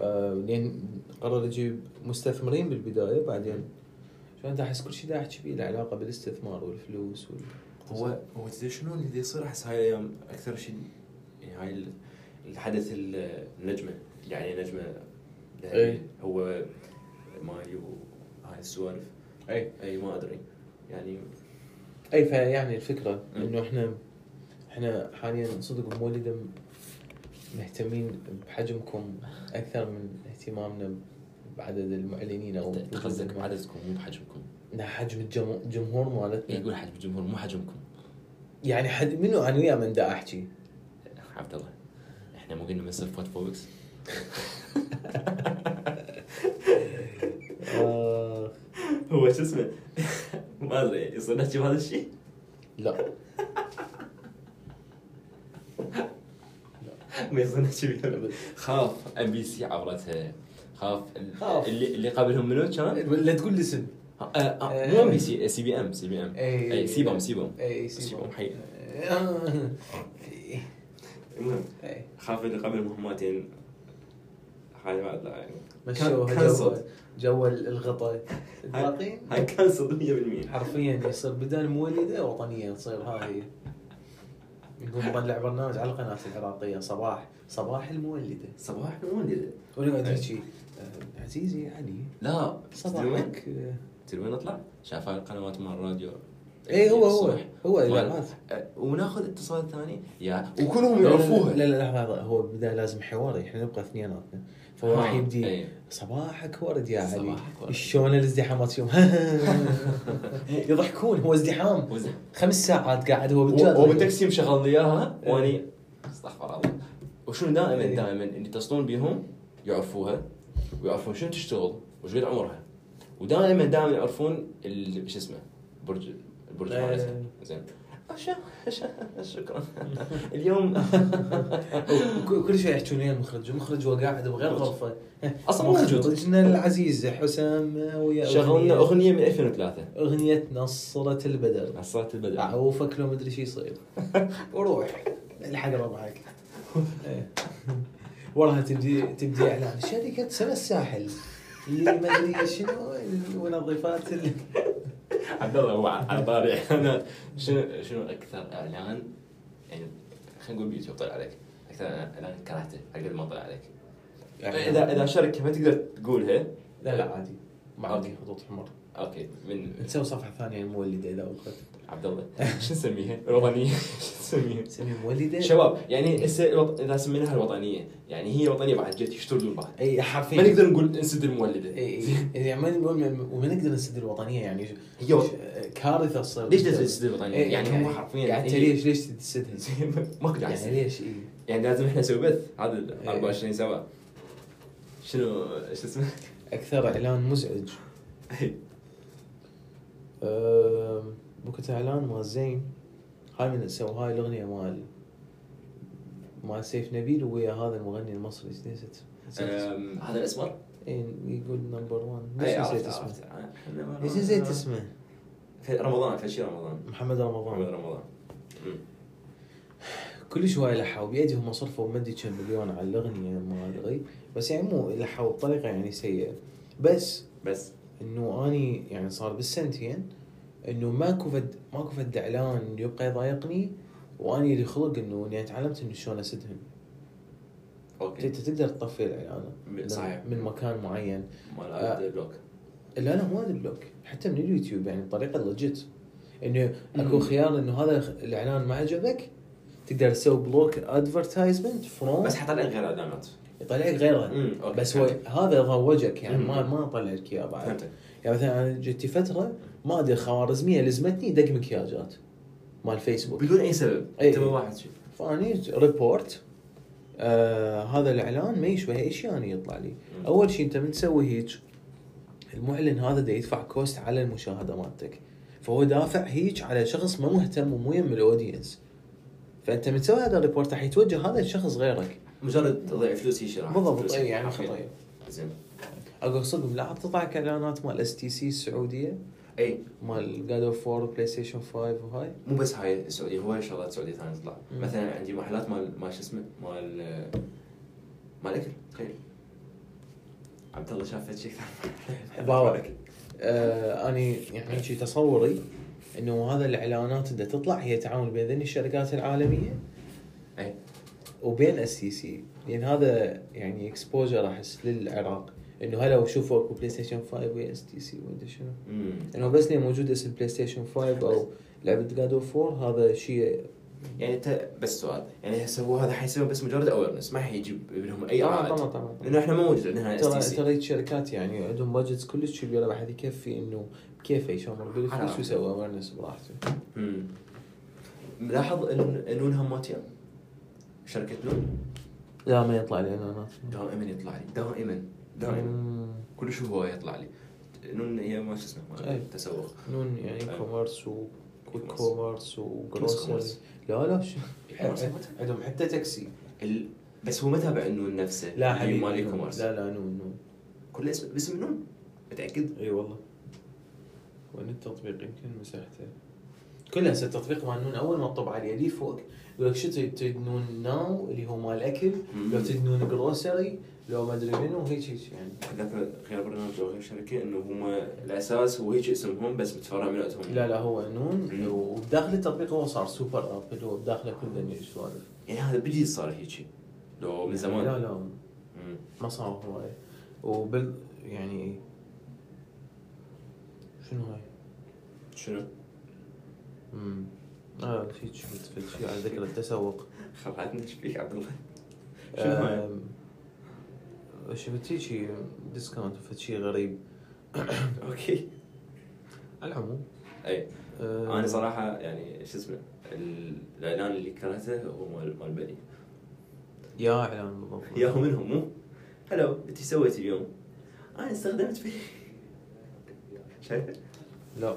Speaker 2: آه لان قرر يجيب مستثمرين بالبدايه بعدين شلون دا احس كل شيء دا احكي بيه له علاقه بالاستثمار والفلوس وال
Speaker 1: هو هو تدري شنو اللي يصير احس هاي الايام اكثر شيء يعني هاي ال- الحدث ال- النجمه يعني نجمه
Speaker 2: أي.
Speaker 1: هو مايو هاي السوالف
Speaker 2: اي
Speaker 1: اي ما ادري يعني
Speaker 2: اي فيعني الفكره
Speaker 1: مم.
Speaker 2: انه احنا احنا حاليا صدق بمولده م- مهتمين بحجمكم اكثر من اهتمامنا بعدد المعلنين او
Speaker 1: قصدك عددكم مو بحجمكم
Speaker 2: لا، حجم الجمهور الجمهور مالتنا
Speaker 1: يقول حجم الجمهور مو حجمكم
Speaker 2: يعني حد منو انا ويا من دا احكي
Speaker 1: عبد الله احنا مو قلنا بنصير فوت فوبكس
Speaker 2: آه
Speaker 1: هو شو اسمه ما ادري يصير نحكي بهذا الشيء
Speaker 2: لا
Speaker 1: ما يصير نحكي بهذا
Speaker 2: أبد.
Speaker 1: خاف ام بي سي عبرتها خاف ال-
Speaker 2: خاف. إيه.
Speaker 1: اللي اللي قبلهم منو كان؟
Speaker 2: لا تقول لي اسم
Speaker 1: آه، آه، مو ام بي سي سي بي ام سي بي ام اي سيبهم سيبهم
Speaker 3: اي
Speaker 1: سيبهم حي
Speaker 3: آه. إي.
Speaker 1: المهم
Speaker 3: إي.
Speaker 1: خاف اللي قبل مهماتين هاي بعد لا يعني
Speaker 3: مشوها
Speaker 1: كان
Speaker 3: جوا
Speaker 1: صوت.
Speaker 3: جوا الغطاء
Speaker 1: هاي
Speaker 3: الباقيين
Speaker 1: هاي كنسل 100%
Speaker 3: حرفيا يصير بدل مولده وطنيه تصير هذه نقوم نطلع برنامج على القناه العراقيه صباح صباح المولده
Speaker 1: صباح مولد
Speaker 3: ونقعد نحكي آه، عزيزي
Speaker 2: يعني،
Speaker 3: علي
Speaker 1: لا تدري وين؟
Speaker 3: صباحك آه،
Speaker 1: تدري وين اطلع؟ شاف هاي القنوات مال الراديو
Speaker 2: إيه،
Speaker 3: اي إيه، هو هو
Speaker 1: الصبح.
Speaker 3: هو
Speaker 1: مال-
Speaker 3: اعلانات
Speaker 1: أه، وناخذ اتصال ثاني يا وكلهم
Speaker 2: لا، لا،
Speaker 1: يعرفوها
Speaker 2: لا لا لحظه لحظه هو بدا لازم حواري احنا نبقى اثنيناتنا فهو
Speaker 1: آه،
Speaker 2: راح يبدي
Speaker 1: إيه.
Speaker 2: صباحك ورد يا علي
Speaker 1: صباحك ورد.
Speaker 2: شلون الازدحامات يوم يضحكون هو ازدحام
Speaker 1: وزح.
Speaker 2: خمس ساعات قاعد هو بالجاد
Speaker 1: و- وبالتاكسي مشغل لي اياها
Speaker 2: إيه.
Speaker 1: واني استغفر الله وشنو دائما
Speaker 2: إيه.
Speaker 1: دائما اللي يتصلون بيهم يعرفوها ويعرفون شنو تشتغل وش قد عمرها ودائما دائما يعرفون ال- شو اسمه برج البرج
Speaker 2: إيه.
Speaker 1: مالتها زين أش- أش- شكرا اليوم
Speaker 2: وك- كل شوي يحجون ويا المخرج المخرج هو قاعد بغير غرفه
Speaker 1: أصلاً مو موجود.
Speaker 2: مخرجنا العزيز حسام ويا
Speaker 1: شغلنا
Speaker 2: أغنية-
Speaker 1: اغنيه من 2003
Speaker 2: اغنيه نصرة البدر
Speaker 1: عصرت البدع
Speaker 2: اعوفك لو مدري شو يصير وروح الحق ربعك إيه. وراها تبدي تبدي اعلان شركه سما الساحل اللي ما ادري شنو المنظفات اللي
Speaker 1: عبد الله هو على طاري انا شنو شنو اكثر اعلان يعني خلينا نقول بيوتيوب طلع عليك اكثر اعلان كرهته على قد ما طلع عليك اذا اذا شركه ما تقدر تقولها
Speaker 2: يعني لا لا عادي ما عندي
Speaker 1: أوكي.
Speaker 2: خطوط حمر
Speaker 1: اوكي من
Speaker 2: نسوي صفحه ثانيه مولده اذا وقفت
Speaker 1: عبد الله شو نسميها؟ الوطنيه شو نسميها؟
Speaker 2: نسميه مولده
Speaker 1: شباب يعني هسه الوط- اذا سميناها الوطنيه يعني هي الوطنيه بعد جت يشتغلون بعد
Speaker 2: اي
Speaker 1: ما
Speaker 2: حرفيا
Speaker 1: نقدر نقول انسد المولده
Speaker 2: اي إي. يعني ما نقول وما نقدر نسد الوطنيه يعني
Speaker 1: هي وط-
Speaker 2: ش- كارثه تصير
Speaker 1: ليش لازم تسد الوطنيه؟
Speaker 2: إي،
Speaker 1: يعني هم حرفيا
Speaker 2: إيه، يعني أنت
Speaker 1: هي-
Speaker 2: ليش ليش تسدها؟
Speaker 1: زين، ما اقدر
Speaker 2: يعني
Speaker 1: يعني,
Speaker 2: ليش اي
Speaker 1: يعني لازم احنا نسوي بث هذا ال
Speaker 2: إيه.
Speaker 1: 24 ساعه شنو شو اسمه؟
Speaker 2: اكثر اعلان مزعج إيه. أم، بكت اعلان مال زين هاي من سو هاي الاغنيه مال مال سيف نبيل ويا هذا المغني المصري إيش نسيت نسيت
Speaker 1: أم، هذا الاسمر؟
Speaker 2: إي، يقول نمبر 1
Speaker 1: إي،
Speaker 2: ليش
Speaker 1: عرفت-
Speaker 2: نسيت اسمه؟
Speaker 1: عرفت. أنا ما-
Speaker 2: ليش نسيت اسمه؟
Speaker 1: في رمضان فشي رمضان محمد
Speaker 2: محمد رمضان
Speaker 1: رمضان أمم.
Speaker 2: كل شوي لحوا بيدهم صرفوا ما ادري كم مليون على الاغنيه ما ادري بس يعني مو لحوا بطريقه يعني سيئه بس
Speaker 1: بس
Speaker 2: انه اني يعني صار بالسنتين انه ماكو فد ماكو فد اعلان يبقى يضايقني واني اللي خلق انه اني تعلمت انه شلون اسدهم
Speaker 1: اوكي
Speaker 2: انت تقدر تطفي الاعلان من-
Speaker 1: صحيح.
Speaker 2: من مكان معين
Speaker 1: مال
Speaker 2: آه.
Speaker 1: اد بلوك
Speaker 2: لا لا مو هذا البلوك حتى من اليوتيوب يعني بطريقه لوجيت انه اكو
Speaker 1: مم.
Speaker 2: خيار انه هذا خ- الاعلان ما عجبك تقدر تسوي بلوك ادفرتايزمنت فروم
Speaker 1: بس حتى غير اعلانات
Speaker 2: يطلع لك غيرها
Speaker 1: أمم، أوكي.
Speaker 2: بس هو هذا ضوجك يعني
Speaker 1: مم.
Speaker 2: ما ما طلع لك اياه بعد
Speaker 1: فهمتك
Speaker 2: يعني مثلا انا جتي فتره ما ادري خوارزميه لزمتني دق مكياجات مال فيسبوك
Speaker 1: بدون اي سبب
Speaker 2: إي.
Speaker 1: انت ما واحد شيء
Speaker 2: فاني ريبورت آه هذا الاعلان ما يشبه اشياني يطلع لي
Speaker 1: مم.
Speaker 2: اول شيء انت من تسوي هيك المعلن هذا دا يدفع كوست على المشاهده مالتك فهو دافع هيك على شخص ما مهتم ومو يم الاودينس فانت من تسوي هذا الريبورت راح يتوجه هذا الشخص غيرك
Speaker 1: مجرد تضيع فلوس هي شيء راح
Speaker 2: بالضبط
Speaker 1: فلوس
Speaker 2: اي يعني
Speaker 1: حرفياً.
Speaker 2: خطير
Speaker 1: زين
Speaker 2: اقول صدق ملاحظ تطلع اعلانات مال اس تي سي السعوديه
Speaker 1: اي
Speaker 2: مال جاد اوف وور بلاي ستيشن 5 وهاي
Speaker 1: مو بس هاي السعوديه هواي شغلات سعوديه ثانيه تطلع
Speaker 2: مم.
Speaker 1: مثلا عندي محلات مال مال شو اسمه مال آه، مال اكل تخيل عبد الله شاف شيء ثاني
Speaker 2: باوع. آه اني يعني شي تصوري انه هذا الاعلانات اللي تطلع هي تعاون بين ذني الشركات العالميه
Speaker 1: اي
Speaker 2: وبين اس سي سي لان هذا يعني اكسبوجر احس للعراق انه هلا وشوفوا اكو بلاي ستيشن 5 ويا اس تي سي ومدري شنو
Speaker 1: أمم.
Speaker 2: انه بس لين موجود اسم بلاي ستيشن 5 او لعبه جاد اوف 4 هذا شيء
Speaker 1: يعني انت بس سؤال يعني هسه هو هذا حيسوي بس مجرد اويرنس ما حيجيب لهم اي
Speaker 2: آه، طبعاً-
Speaker 1: عائد
Speaker 2: طبعاً- طبعاً.
Speaker 1: لانه احنا ما موجود عندنا اس
Speaker 2: ترى
Speaker 1: تي سي
Speaker 2: ترى الشركات يعني عندهم بادجتس كلش كبيره بعد يكفي انه كيفه يشمر بالفلوس
Speaker 1: عرفت.
Speaker 2: ويسوي اويرنس براحته
Speaker 1: ملاحظ ان انون هماتين
Speaker 4: شركه نون
Speaker 5: دائما يطلع الاعلانات
Speaker 4: دائما يطلع لي دائما دائما
Speaker 5: مم.
Speaker 4: كل شو هو يطلع لي نون هي ما شو اسمه ما
Speaker 2: إيه.
Speaker 5: أي.
Speaker 4: تسوق
Speaker 5: نون يعني
Speaker 4: أيوة.
Speaker 5: كوميرس وكويك كوميرس وجروسري
Speaker 4: كوميرس.
Speaker 5: لا لا شو
Speaker 2: عندهم حتى تاكسي
Speaker 4: ال... بس هو ما تابع النون نفسه اللي مال
Speaker 5: نون.
Speaker 4: كوميرس
Speaker 5: لا لا نون نون
Speaker 4: كل اسم باسم نون متاكد
Speaker 5: اي والله
Speaker 2: وين التطبيق يمكن مسحته كل هسه التطبيق مال نون اول ما تطب عليه لي فوق يقول لك شو تريد تريد نون ناو اللي هو مال اكل لو تريد نون جروسري لو ما ادري منو هيك هيك يعني
Speaker 4: ذاك غير برنامج او غير شركه انه هم الاساس هو هيك اسمهم بس متفرع من اسمهم
Speaker 2: لا لا هو نون
Speaker 4: مم.
Speaker 2: وبداخل التطبيق هو صار سوبر اب هو بداخله كل دنيا سوالف
Speaker 4: يعني هذا بالجديد صار هيك لو من زمان
Speaker 2: لا لا
Speaker 4: مم.
Speaker 2: ما صار هواي وبال يعني شنو هاي؟
Speaker 4: شنو؟
Speaker 2: امم اه شيء شفت شيء على ذكر التسوق
Speaker 4: خلعتني ايش فيك عبد الله؟ شنو هاي؟
Speaker 2: آم، شفت شيء ديسكاونت وفد شيء غريب
Speaker 4: آه، اوكي
Speaker 2: على العموم
Speaker 4: اي
Speaker 2: آه،
Speaker 4: انا صراحه يعني شو اسمه ال- الاعلان اللي كرهته هو مال مال بني
Speaker 2: يا اعلان بالضبط
Speaker 4: ياهو منهم مو هلو انت ايش سويت اليوم؟ انا استخدمت فيه شايفه؟
Speaker 2: لا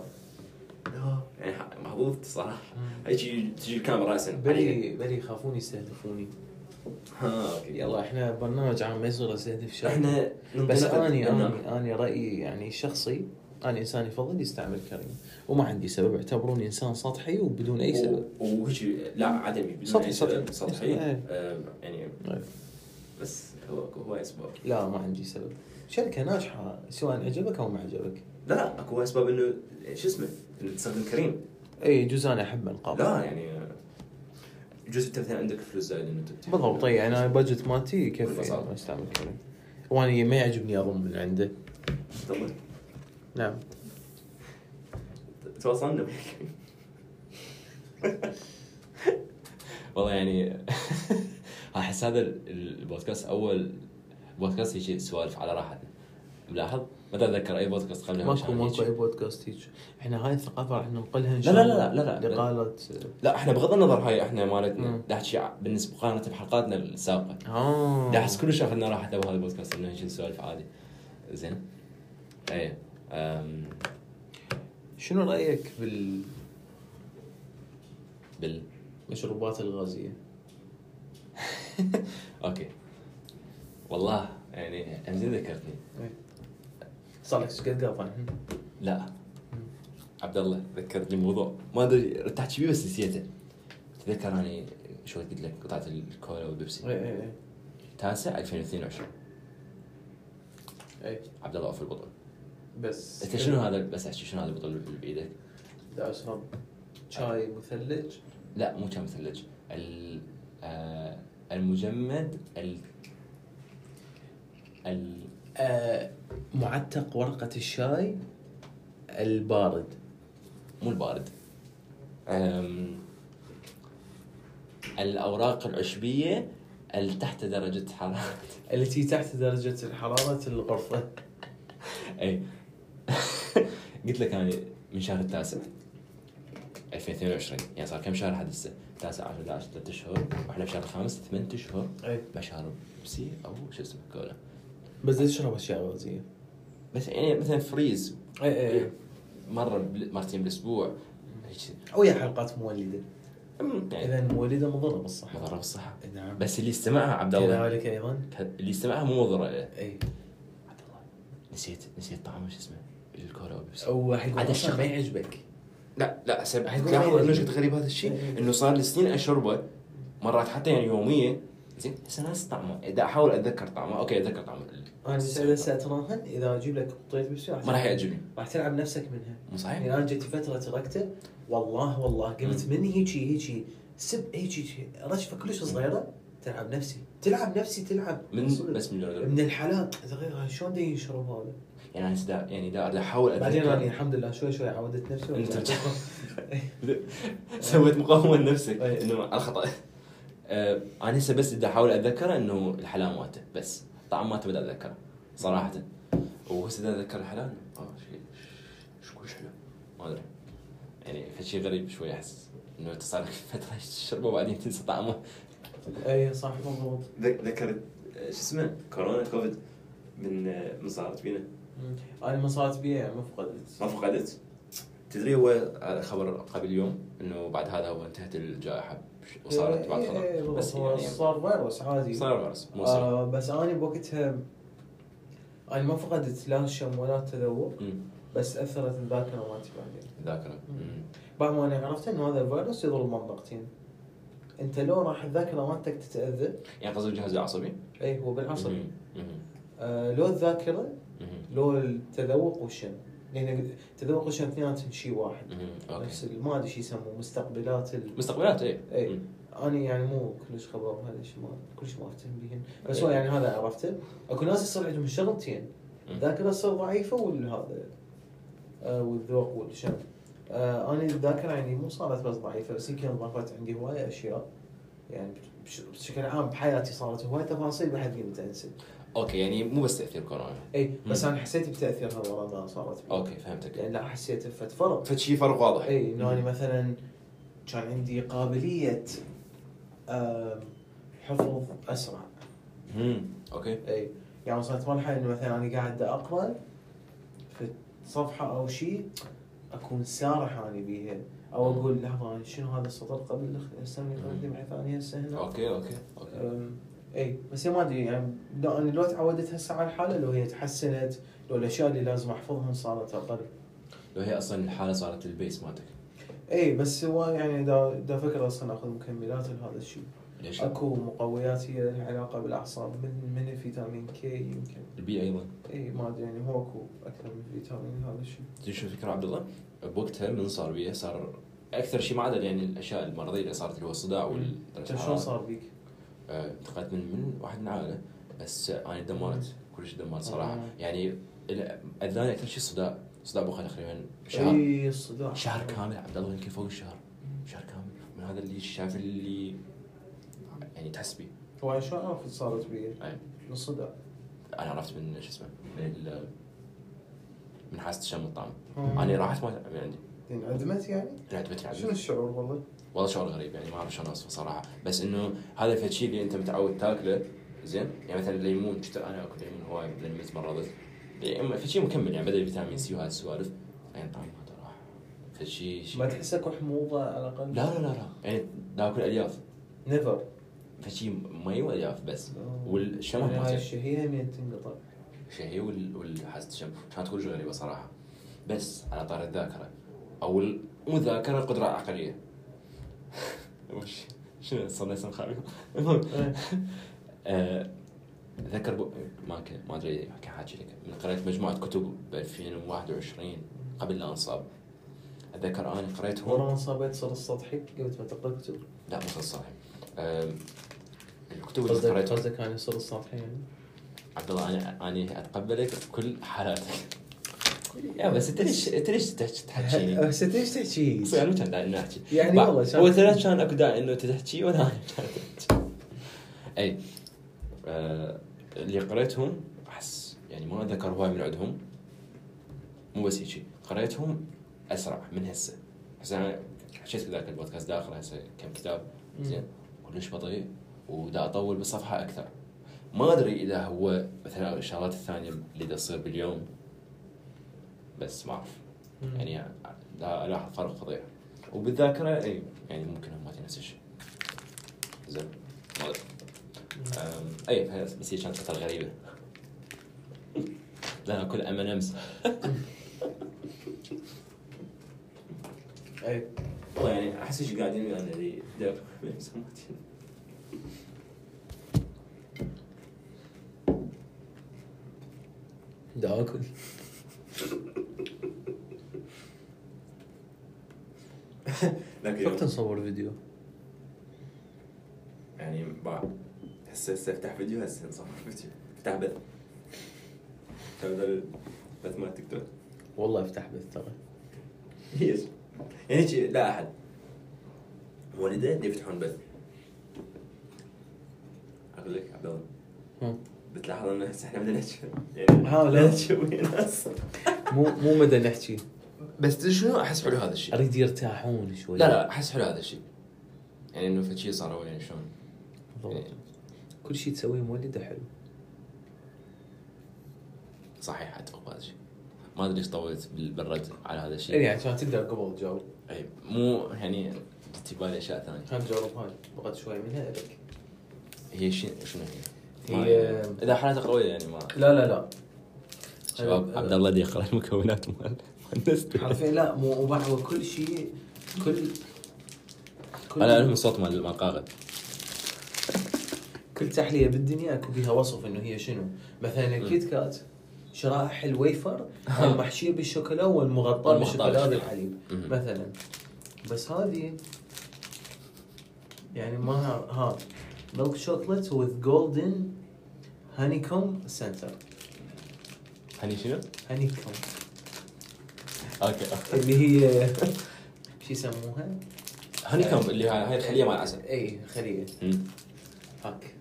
Speaker 4: لا يعني ح- محظوظ صراحه هيجي تجي الكاميرا راسا
Speaker 2: بلي بلي يخافون يستهدفوني
Speaker 4: ها اوكي
Speaker 2: يلا احنا برنامج عام ما يصير استهدف شيء
Speaker 4: احنا
Speaker 2: بس
Speaker 4: ننطلق
Speaker 2: اني
Speaker 4: بالبرنامج.
Speaker 2: اني اني رايي يعني الشخصي انا انسان يفضل يستعمل كريم وما عندي سبب اعتبروني انسان سطحي وبدون اي سبب
Speaker 4: و- وهيجي لا عدمي بدون
Speaker 2: سطحي-
Speaker 4: اي سبب
Speaker 2: سطحي.
Speaker 4: سطحي
Speaker 2: إيه.
Speaker 4: آه، يعني
Speaker 2: أي.
Speaker 4: بس هو هو اسباب
Speaker 2: طيب. لا ما عندي سبب شركه ناجحه سواء عجبك او ما عجبك
Speaker 4: لا لا اكو اسباب انه شو اسمه انه تستخدم كريم
Speaker 2: اي جزء انا احب القاب
Speaker 4: لا يعني آه، جزء انت مثلا عندك فلوس زايد انه تبتدي
Speaker 2: بالضبط اي انا البادجت مالتي كيف
Speaker 4: بالبساطة.
Speaker 2: يعني استعمل كريم وانا ما يعجبني اضم من عنده
Speaker 4: تمام.
Speaker 2: نعم
Speaker 4: تواصلنا وياك.
Speaker 1: والله يعني احس هذا ال- البودكاست اول بودكاست هيجي سوالف على راحتنا ملاحظ ما تتذكر اي بودكاست قبلها
Speaker 2: ماكو
Speaker 1: مشان
Speaker 2: ماكو
Speaker 1: هيجي.
Speaker 2: اي بودكاست هيك احنا هاي الثقافه راح ننقلها ان
Speaker 1: لا
Speaker 2: شاء
Speaker 1: لا
Speaker 2: الله
Speaker 1: لا لا لا لا
Speaker 2: لقالة
Speaker 1: لا احنا بغض النظر هاي احنا مالتنا
Speaker 2: مم.
Speaker 1: دا احكي ع- بالنسبه مقارنه بحلقاتنا السابقه
Speaker 2: اه
Speaker 1: دا احس كلش اخذنا راحتنا بهذا البودكاست انه هيجي سوالف عادي زين اي أم،
Speaker 2: شنو رايك
Speaker 1: بال
Speaker 2: بالمشروبات الغازيه؟
Speaker 1: اوكي والله يعني انزين ذكرتني
Speaker 2: إيه. صار لك ايش قد قاطع؟
Speaker 1: لا عبد الله ذكرتني موضوع ما ادري ارتحت فيه بس نسيته تذكر اني شوي قلت لك قطعه الكولا والبيبسي
Speaker 2: اي اي
Speaker 1: تاسع 2022
Speaker 2: اي
Speaker 1: عبد الله اوف البطل
Speaker 2: إيه. بس
Speaker 1: انت شنو هذا بس احكي شنو هذا البطل اللي بايدك؟
Speaker 2: بدي اشرب شاي مثلج
Speaker 1: لا مو كان مثلج ال آه المجمد ال ال
Speaker 2: آه معتق ورقه الشاي البارد
Speaker 1: مو البارد أم الاوراق العشبيه اللي تحت درجه حراره
Speaker 2: التي تحت درجه الحراره الغرفه
Speaker 1: اي إيه. قلت لك انا من شهر التاسع 2022 يعني صار كم شهر لحد هسه؟ تاسع 10 11 3 اشهر واحنا بشهر الخامس 8 اشهر
Speaker 2: اي
Speaker 1: بشرب بيبسي او شو اسمه كولا
Speaker 2: بس ليش تشرب اشياء غازيه؟
Speaker 1: بس يعني مثلا فريز
Speaker 2: اي
Speaker 1: مره بال- مرتين بالاسبوع هيك
Speaker 2: ويا حلقات مولده
Speaker 1: أم، يعني
Speaker 2: اذا مولده مضره بالصحه
Speaker 1: مضره بالصحه
Speaker 2: إيه. نعم
Speaker 1: بس اللي يستمعها عبد الله
Speaker 2: كذلك ايضا
Speaker 1: اللي يستمعها مو مضره له
Speaker 2: اي
Speaker 1: عبد الله نسيت نسيت طعم شو اسمه الكولا وبيبسي
Speaker 2: او راح يقول
Speaker 1: عاد
Speaker 2: أصلاً
Speaker 1: الشغل.
Speaker 2: ما يعجبك
Speaker 1: لا لا هسه بعد
Speaker 2: يقول
Speaker 1: تلاحظ
Speaker 2: غريب.
Speaker 1: انه شفت غريب هذا الشيء
Speaker 2: إيه.
Speaker 1: انه صار لي سنين اشربه مرات حتى يعني يوميه زين هسه ناس طعمه اذا احاول اتذكر طعمه اوكي اتذكر طعمه
Speaker 2: انا هسه اتراهن اذا اجيب لك بطيط بيبسي
Speaker 1: ما راح يعجبني
Speaker 2: راح تلعب نفسك منها
Speaker 1: مو
Speaker 2: يعني
Speaker 1: صحيح؟
Speaker 2: انا جت فتره تركته والله والله قمت
Speaker 1: مم.
Speaker 2: من هيجي هيجي سب هيجي رشفه كلش صغيره تلعب نفسي تلعب نفسي تلعب
Speaker 1: من بس من جرب.
Speaker 2: من الحلال صغير شلون دي يشرب هذا
Speaker 1: يعني انا دا يعني دا احاول
Speaker 2: بعدين انا
Speaker 1: اتذكر
Speaker 2: الحمد لله شوي شوي عودت نفسي
Speaker 1: أنت
Speaker 2: ورجعت.
Speaker 1: سويت مقاومه لنفسك
Speaker 2: إيه.
Speaker 1: انه على الخطا آه، انا هسه بس بدي احاول اتذكره انه الحلال مالته بس طعم مالته بدي اتذكره صراحه وهسه بدي اتذكر الحلال اه شيء شو كلش حلو ما ادري يعني فشي غريب شوي احس انه تصار لك فتره تشربه وبعدين تنسى طعمه
Speaker 2: اي إيه، صح مضبوط
Speaker 6: ذك- ذكرت آه، شو اسمه كورونا كوفيد من آه، من صارت بينا
Speaker 2: مم. انا ما صارت بيا ما فقدت
Speaker 6: ما فقدت
Speaker 1: تدري هو على خبر قبل يوم انه بعد هذا هو انتهت الجائحه وصارت بعد
Speaker 2: إيه، إيه،
Speaker 1: خطر
Speaker 2: بالضبط.
Speaker 1: بس
Speaker 2: هو
Speaker 1: يعني
Speaker 2: صار فيروس عادي
Speaker 1: صار فيروس مو سر.
Speaker 2: آه بس انا بوقتها انا ما فقدت لا الشم ولا التذوق
Speaker 1: مم.
Speaker 2: بس اثرت الذاكره مالتي بعدين
Speaker 1: الذاكره
Speaker 2: مم.
Speaker 1: مم.
Speaker 2: بعد ما انا عرفت انه هذا الفيروس يضر المنطقتين انت لو راح الذاكره مالتك تتاذى
Speaker 1: يعني قصدي الجهاز العصبي
Speaker 2: اي هو بالعصبي
Speaker 1: مم. مم.
Speaker 2: آه لو الذاكره
Speaker 1: مم.
Speaker 2: لو التذوق والشم لان التذوق والشم اثنيناتهم شيء واحد
Speaker 1: مم.
Speaker 2: نفس
Speaker 1: اوكي
Speaker 2: ال- ما ادري شو يسموه مستقبلات ال...
Speaker 1: مستقبلات ايه
Speaker 2: إيه.
Speaker 1: مم.
Speaker 2: انا يعني مو كلش خبر هذا الشيء ما كلش ما اهتم بهن بس
Speaker 1: إيه.
Speaker 2: هو يعني هذا عرفته اكو ناس يصير عندهم شغلتين
Speaker 1: مم.
Speaker 2: الذاكره تصير ضعيفه والهذا آه والذوق والشم آه انا الذاكره يعني مو صارت بس ضعيفه بس يمكن انضافت عندي هوايه اشياء يعني بش- بشكل عام بحياتي صارت هوايه تفاصيل بحد قيمته انسى
Speaker 1: اوكي يعني مو بس تاثير كورونا
Speaker 2: اي بس
Speaker 1: مم.
Speaker 2: انا حسيت بتاثيرها ورا ما صارت بي.
Speaker 1: اوكي فهمتك
Speaker 2: لان لا حسيت بفتره
Speaker 1: فشي فرق واضح
Speaker 2: اي انه انا مثلا كان عندي قابليه آم، حفظ اسرع
Speaker 1: مم. اوكي
Speaker 2: اي يعني وصلت مرحله انه مثلا انا قاعد اقرا في صفحه او شيء اكون سارح انا بيها او اقول لحظه أنا شنو هذا السطر قبل أخ- استني قبل بحيث اني هسه هنا
Speaker 1: اوكي اوكي اوكي
Speaker 2: أم، اي بس ما ادري يعني لو انا لو تعودت هسه على الحاله لو هي تحسنت لو الاشياء اللي لازم احفظهم صارت اقل
Speaker 1: لو هي اصلا الحاله صارت البيس مالتك
Speaker 2: اي بس هو يعني دا, دا فكر اصلا اخذ مكملات لهذا الشيء
Speaker 1: ليش؟
Speaker 2: اكو مقويات هي لها علاقه بالاعصاب من من فيتامين كي يمكن
Speaker 1: البيئه ايضا
Speaker 2: اي ما ادري يعني هو اكو اكثر من فيتامين هذا الشيء
Speaker 1: تدري شو الفكره عبد الله؟ بوقتها من صار بيه صار اكثر شيء ما عدا يعني الاشياء المرضيه اللي صارت اللي هو الصداع وال
Speaker 2: انت شلون صار بيك؟
Speaker 1: آه، انتقلت من من واحد من عائله بس انا دمرت كلش دمرت صراحه
Speaker 2: آه.
Speaker 1: يعني ال- اذاني اكثر شيء الصداع الصداع بوخه تقريبا شهر
Speaker 2: اي إيه، الصداع
Speaker 1: شهر كامل عبد الله يمكن فوق الشهر شهر كامل من هذا اللي شاف اللي يعني تحس بيه
Speaker 2: هو أنا شلون عرفت صارت بي؟
Speaker 1: أي.
Speaker 2: من الصداع
Speaker 1: انا عرفت من شو اسمه من ال- من حاسه الشم والطعم انا راحت ما من عندي
Speaker 2: انعدمت يعني؟
Speaker 1: لعبتي
Speaker 2: شنو
Speaker 1: عزيز
Speaker 2: الشعور والله؟
Speaker 1: والله شعور غريب يعني ما اعرف شلون اوصفه صراحه بس انه هذا الشيء اللي انت متعود تاكله زين يعني مثلا الليمون كنت انا اكل ليمون هواي لما تمرضت يعني اما فشي مكمل يعني بدل فيتامين سي وهذه السوالف يعني طعمه هذا راح فشي شي-
Speaker 2: ما تحس اكو حموضه على الاقل؟
Speaker 1: لا لا لا لا يعني ناكل الياف
Speaker 2: نيفر
Speaker 1: فشي مي والياف بس والشمع
Speaker 2: يعني هاي
Speaker 1: ما
Speaker 2: الشهيه من تنقطع
Speaker 1: شهي وال- والحاسه الشم كانت كلش غريبه صراحه بس على طار الذاكره او ال- مو ذاكره قدره عقليه وش شنو صرنا اسم خارج المهم
Speaker 2: إيه.
Speaker 1: آه، ذكر بو... ما ك... ما ادري كان حاجي لك من قريت مجموعه كتب ب 2021 قبل لا انصاب اتذكر انا
Speaker 2: ورا
Speaker 1: قريتهم
Speaker 2: ما انصابت صرت سطحي قمت ما تقرا كتب
Speaker 1: لا مو صحيح آم، الكتب اللي
Speaker 7: قصدك
Speaker 1: قريتها
Speaker 7: قصدك انا صرت سطحي يعني
Speaker 1: عبد الله انا انا اتقبلك بكل حالاتك يا بس انت ليش انت ليش تحكي- تحكيني؟
Speaker 2: بس انت ايش أه، تحكي؟
Speaker 1: بس يعني كان داعي نحكي
Speaker 2: يعني
Speaker 1: بع-
Speaker 2: والله
Speaker 1: هو ثلاث كان اكو داعي انه انت تحكي وانا أنا كان أحكي. اي آه، اللي قريتهم احس يعني ما اتذكر هواي من عندهم مو بس هيجي قريتهم اسرع من هسه هسه انا حكيت بذاك البودكاست داخل هسه كم كتاب
Speaker 2: مم.
Speaker 1: زين كلش بطيء ودا اطول بالصفحه اكثر ما ادري اذا هو مثلا الشغلات الثانيه اللي دا تصير باليوم بس ما اعرف
Speaker 2: مم.
Speaker 1: يعني لا الاحظ فرق فظيع وبالذاكره اي يعني ممكن هم نفس الشيء زين ما ادري أم، اي فهي- بس هي كانت فتره غريبه لا اكل ام ان امس
Speaker 2: اي
Speaker 6: والله يعني احس ايش قاعدين ويانا اللي دب سمعتين.
Speaker 7: دا اكل فقط
Speaker 6: ذاك اليوم
Speaker 7: نصور فيديو
Speaker 6: يعني بع- هسه هسه افتح فيديو هسه نصور فيديو افتح بث افتح بدل بث مال تيك توك
Speaker 7: والله افتح بث ترى
Speaker 6: ليش؟ يعني شي- لا احد والدين يفتحون بث اقول لك عبد الله
Speaker 7: هم.
Speaker 6: بتلاحظ انه هسه احنا بدنا نحكي يعني
Speaker 7: ها، لا.
Speaker 6: لا تشوي ناس
Speaker 7: مو مو مدى نحكي
Speaker 1: بس تدري شنو احس حلو هذا الشيء
Speaker 7: اريد يرتاحون شوي
Speaker 1: لا لا احس حلو هذا الشيء يعني انه فشي صاروا يعني شلون
Speaker 2: بالضبط كل شيء تسويه مولده حلو
Speaker 1: صحيح اتفق بهذا الشيء ما ادري ايش طولت بال- بالرد على هذا الشيء
Speaker 2: يعني عشان تقدر قبل تجاوب
Speaker 1: اي مو يعني جت في بالي اشياء ثانيه
Speaker 2: كان تجاوب هاي بغيت شوي منها لك
Speaker 1: هي شي- شنو هي؟ ما-
Speaker 2: هي-
Speaker 1: اذا حالتها قويه يعني ما
Speaker 2: لا لا لا أه،
Speaker 1: شباب عبد الله دي يقرا المكونات مال مهندسة.
Speaker 2: حرفيا لا مو وبع- هو كل شيء كل كل
Speaker 1: انا اعرف الصوت مال مال قاغد
Speaker 2: كل تحليه بالدنيا اكو فيها وصف انه هي شنو مثلا الكيت كات شرائح الويفر المحشيه بالشوكولا والمغطاه
Speaker 1: والمغطاة
Speaker 2: بالشوكولا
Speaker 1: بالشوكولا.
Speaker 2: بالحليب
Speaker 1: مم.
Speaker 2: مثلا بس هذه يعني ما ها- ها ميلك شوكلت وذ جولدن هاني كوم سنتر
Speaker 1: هني شنو؟
Speaker 2: هاني كوم
Speaker 1: اوكي اوكي
Speaker 2: اللي هي شو يسموها؟ إيه،
Speaker 1: هني كم اللي هاي هاي الخليه مال العسل
Speaker 2: اي خليه
Speaker 1: مم.
Speaker 2: هاك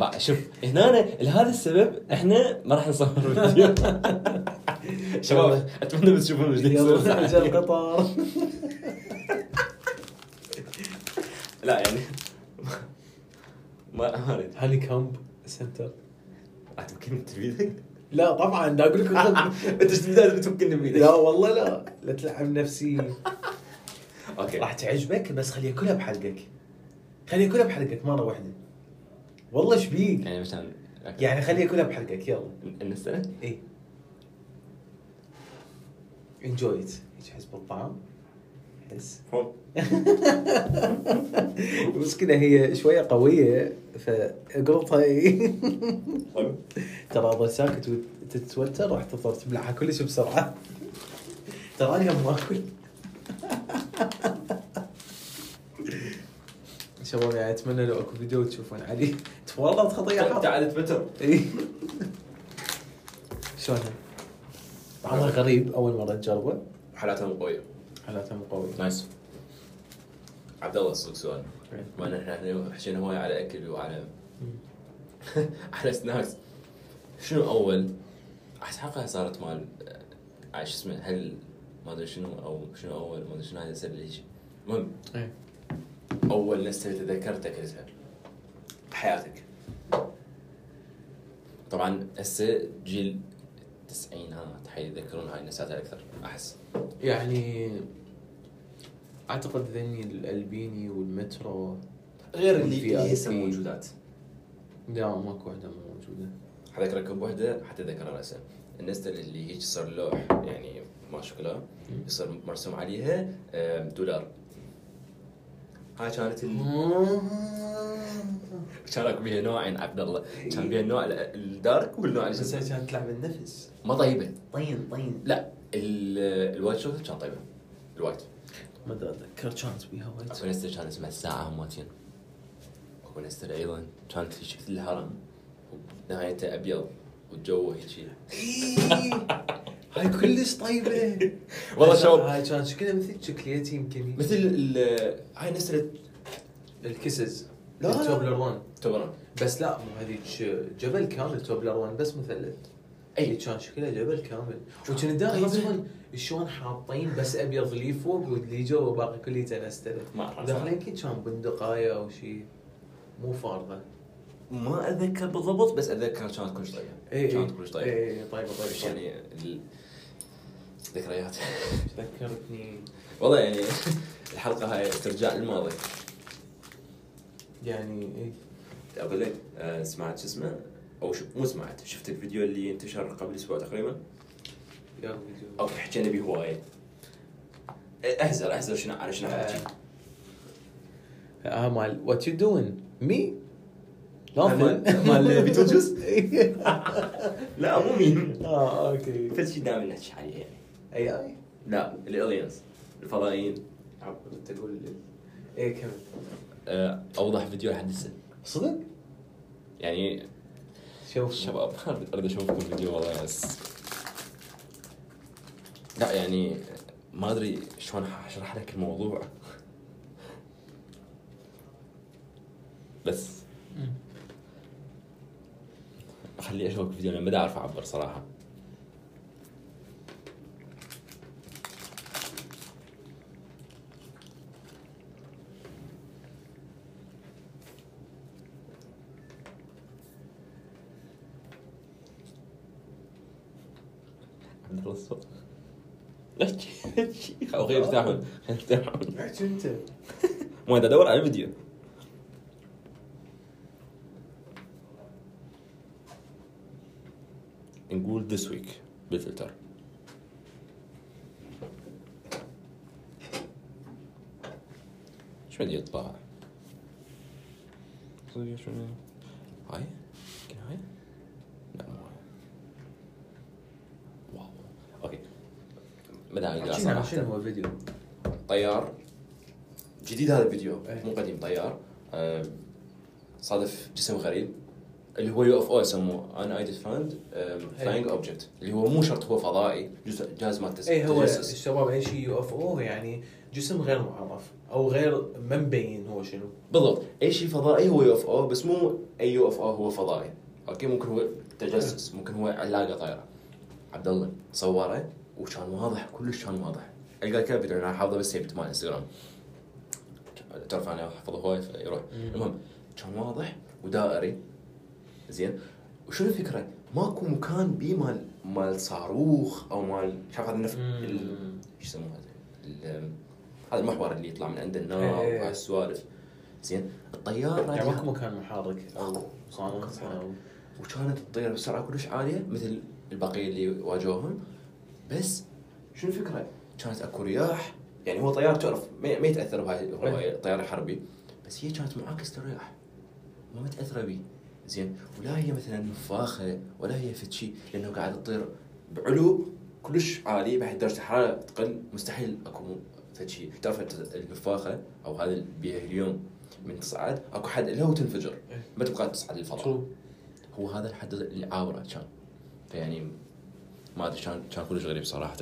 Speaker 1: بع- شوف هنا أنا- لهذا السبب احنا ما راح نصور فيديو شباب اتمنى بس تشوفون ايش
Speaker 2: يلا اجى
Speaker 1: يصير
Speaker 2: القطار
Speaker 1: لا يعني ما ما اريد
Speaker 2: هاني كومب سنتر
Speaker 1: انت ممكن تفيدك
Speaker 2: لا طبعا دا اقول لكم خذ-
Speaker 1: انت ايش بدايه بتمكن
Speaker 2: لا
Speaker 1: بيدك
Speaker 2: والله لا لا تلعب نفسي
Speaker 1: اوكي
Speaker 2: راح تعجبك بس خليها كلها بحلقك خليها كلها بحلقك مره واحده والله ايش بيك
Speaker 1: يعني مثلا أوكي.
Speaker 2: يعني خليها كلها بحلقك يلا إيه.
Speaker 1: نستلم
Speaker 2: اي انجوي ات تحس بالطعم حس المشكله هي شويه قويه فقلطها إي.
Speaker 8: حلو
Speaker 2: ترى اضل ساكت وتتوتر راح تضطر تبلعها كلش بسرعه ترى اليوم ما اكل شباب يعني اتمنى لو اكو فيديو تشوفون علي تورطت خطيه حاطه
Speaker 8: تعال تويتر
Speaker 2: إي. إيه. شلونها؟ طعمها غريب اول مره تجربه
Speaker 1: حالاتها مو قويه
Speaker 2: حالاتها مو قويه
Speaker 1: نايس عبد الله اسالك سؤال بما ان احنا اليوم حكينا هواي على اكل وعلى على سناكس شنو اول احس حلقه صارت مال آه، شو اسمه هل ما ادري شنو او شنو اول ما ادري شنو هذا السر اللي هيك المهم
Speaker 2: إيه.
Speaker 1: اول نفسها تذكرت اكلتها بحياتك طبعا هسه جيل التسعينات حيتذكرون هاي النسات اكثر احس
Speaker 2: يعني اعتقد ذني الالبيني والمترو
Speaker 1: غير
Speaker 2: في-
Speaker 1: اللي اللي هسه
Speaker 2: في-
Speaker 1: موجودات
Speaker 2: لا ماكو وحده مو موجوده
Speaker 1: حذكرك بوحده حتذكر راسه النستا اللي هيك صار لوح يعني ما شكله يصير مرسوم عليها آم، دولار هاي كانت ال...
Speaker 3: آه.
Speaker 1: كان اكو بيها نوعين عبد الله كان بيها النوع ال- الدارك والنوع
Speaker 3: بس
Speaker 1: اللي
Speaker 3: هي كانت تلعب النفس
Speaker 1: ما طيبه
Speaker 3: طين طين
Speaker 1: لا ال... الوايت شوكلت كان طيبه الوايت
Speaker 2: ما أدري اتذكر كانت بيها وايد
Speaker 1: اكو نستا كان اسمها الساعه هماتين اكو نستا ايضا كانت في شكل الهرم نهايته ابيض والجو هيك
Speaker 2: هاي كلش طيبه
Speaker 1: والله شباب
Speaker 2: هاي كان شكلها مثل شكليتي يمكن
Speaker 1: مثل ال- هاي نستا
Speaker 2: الكسز
Speaker 1: لا، لا.
Speaker 2: التوبلرون
Speaker 1: تبرم
Speaker 2: بس لا مو هذيك آه، جبل كامل توبلرون بس مثلث
Speaker 1: أي.
Speaker 2: هي كان شكلها جبل كامل وكان دائما
Speaker 1: طيبة.
Speaker 2: يصفون شلون حاطين بس ابيض لي فوق واللي جوا باقي كله تنستل
Speaker 1: ما أعرف.
Speaker 2: داخل يمكن كان بندقايه او شيء مو فارضه
Speaker 1: ما اتذكر بالضبط بس اتذكر كانت كلش طيبه
Speaker 2: اي
Speaker 1: كانت كلش
Speaker 2: اي
Speaker 1: طيبه
Speaker 2: إي، طيبه
Speaker 1: مش
Speaker 2: طيبه
Speaker 1: يعني ال- ذكريات
Speaker 2: ذكرتني
Speaker 1: والله يعني الحلقه هاي استرجاع للماضي
Speaker 2: يعني اي
Speaker 8: اقول لك آه، سمعت شو اسمه او شو مو سمعت شفت الفيديو اللي انتشر قبل اسبوع تقريبا
Speaker 2: يا فيديو
Speaker 8: او حكينا به هوايه آه، احزر احزر شنو على شنو احكي
Speaker 1: Uh,
Speaker 2: اه مال وات يو دوين مي
Speaker 8: مال- مال بيتلجوس؟ لا مو مين
Speaker 2: اه اوكي
Speaker 8: فد شيء دائما نحكي عليه يعني
Speaker 2: اي اي
Speaker 8: لا الالينز الفضائيين
Speaker 2: عفوا كنت اقول اي كمل
Speaker 8: آه،
Speaker 1: أه، اوضح فيديو لحد هسه
Speaker 2: صدق؟
Speaker 1: يعني
Speaker 2: شوف
Speaker 1: شباب أريد- اريد اشوفكم فيديو والله بس لا يعني ما ادري شلون اشرح لك الموضوع بس
Speaker 2: Mm.
Speaker 1: خلي اشوفك فيديو لما بدي اعرف اعبر صراحه يحفظ الصوت لا شي- لا شي. خلينا يرتاحون خلينا يرتاحون
Speaker 3: احكي انت
Speaker 1: ما أنا ادور على فيديو نقول this week بالفلتر شو بدي يطلع؟ صدق شو بدي- هاي؟ يمكن هاي؟ لا مو هاي واو اوكي مدى اقدر
Speaker 2: شنو-
Speaker 1: صراحة
Speaker 2: شنو هو فيديو؟
Speaker 1: طيار جديد هذا الفيديو
Speaker 2: أي.
Speaker 1: مو قديم طيار آه، صادف جسم غريب اللي هو يو اف او يسموه ان ايدنتيفايد فلاينج اوبجكت اللي هو مو شرط هو فضائي جزء جهاز ما تس-
Speaker 2: إيه،
Speaker 3: اي هو
Speaker 1: تجسس
Speaker 3: الشباب اي شيء يو اف
Speaker 2: Oh,
Speaker 3: او يعني جسم غير معرف او غير ما مبين هو شنو
Speaker 1: بالضبط اي شيء فضائي هو يو اف او بس مو اي يو اف او هو فضائي اوكي ممكن هو تجسس ممكن هو علاقه طايره عبد الله صوره وكان واضح كلش كان واضح القى كذا فيديو انا حافظه بس سيفت مال انستغرام تعرف انا احفظه هواي فيروح المهم كان واضح ودائري زين وشنو الفكره؟ ماكو مكان بي مال مال صاروخ او مال شاف هذا النفط
Speaker 2: مم.
Speaker 1: شو يسموه هذا؟ ال- هذا المحور اللي يطلع من عند النار
Speaker 2: إيه إيه.
Speaker 1: وهالسوالف زين الطياره
Speaker 2: يعني
Speaker 1: لها-
Speaker 2: ماكو مكان محرك
Speaker 1: آه،
Speaker 2: او صامت او
Speaker 1: وكانت تطير بسرعه كلش عاليه مثل البقيه اللي واجهوهم بس شنو الفكره؟ كانت اكو رياح يعني هو طيار تعرف ما ما يتاثر بهاي هو
Speaker 2: إيه.
Speaker 1: طيار حربي بس هي كانت معاكس للرياح ما متاثره بيه زين ولا هي مثلا فاخه ولا هي فد شيء لانه قاعده تطير بعلو كلش عالي بحيث درجه الحراره تقل مستحيل اكو مو- فد شيء تعرف الت- النفاخه او هذا البيئه اليوم من تصعد اكو حد لها وتنفجر ما تبقى تصعد للفضاء هو هذا الحد اللي عابره كان فيعني ما ادري كان كان كلش غريب صراحه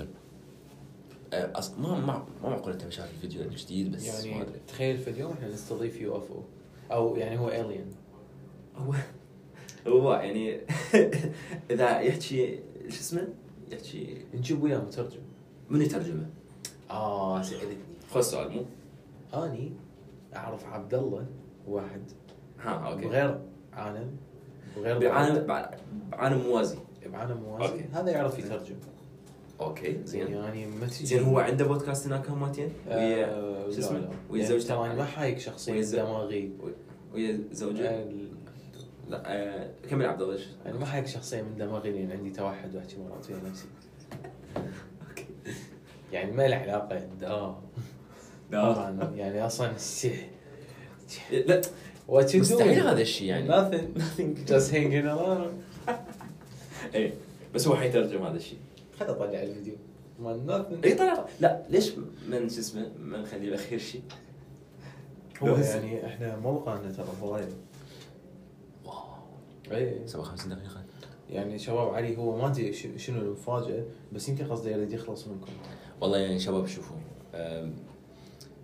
Speaker 1: أه، أص... ما ما ما معقول انت مشاهد الفيديو الجديد بس ما
Speaker 2: يعني
Speaker 1: ادري
Speaker 2: تخيل في اليوم احنا نستضيف يو اف او او يعني هو الين
Speaker 8: هو هو يعني اذا يحكي شو اسمه؟ يحكي
Speaker 2: نجيب وياه مترجم
Speaker 8: من يترجمه؟
Speaker 1: آه،
Speaker 2: اه سالتني
Speaker 1: خذ السؤال مو
Speaker 2: اني اعرف عبد الله واحد
Speaker 8: ها اوكي
Speaker 2: غير عالم وغير
Speaker 8: بعالم بع- بعالم موازي
Speaker 2: بعالم موازي
Speaker 8: أوكي.
Speaker 2: هذا يعرف يترجم
Speaker 8: اوكي
Speaker 2: زين
Speaker 8: زين
Speaker 2: يعني ما تجي
Speaker 8: زين هو عنده بودكاست هناك هم مالتين؟ ويا
Speaker 2: آه،
Speaker 8: شو
Speaker 2: لا،
Speaker 8: اسمه؟
Speaker 2: لا.
Speaker 8: ويا
Speaker 2: يعني
Speaker 8: زوجته.
Speaker 2: ترى أنا ما حايك شخصيه
Speaker 8: ويا زو-
Speaker 2: دماغي
Speaker 8: ويا زوجه؟
Speaker 2: ال-
Speaker 8: لا آه، كمل عبد الله إيش؟
Speaker 2: انا ما حايك شخصيه من دماغي لان عندي توحد واحكي مرات ويا نفسي يعني ما له علاقه دا
Speaker 8: لا
Speaker 2: طبعاً، يعني اصلا
Speaker 8: لا
Speaker 2: وات يو
Speaker 1: مستحيل هذا الشيء يعني
Speaker 2: nothing nothing just hanging around
Speaker 8: ايه بس هو حيترجم هذا الشيء
Speaker 2: خل اطلع الفيديو ما
Speaker 8: اي
Speaker 2: nothing
Speaker 8: طلع لا ليش من شو اسمه ما نخليه الاخير شيء
Speaker 3: هو يعني احنا موقعنا ترى فضايح
Speaker 1: واو
Speaker 2: إيه.
Speaker 1: 57 دقيقه
Speaker 3: يعني شباب علي هو ما ادري ش- شنو المفاجاه بس يمكن قصده يريد يخلص منكم
Speaker 1: والله يعني شباب شوفوا أم،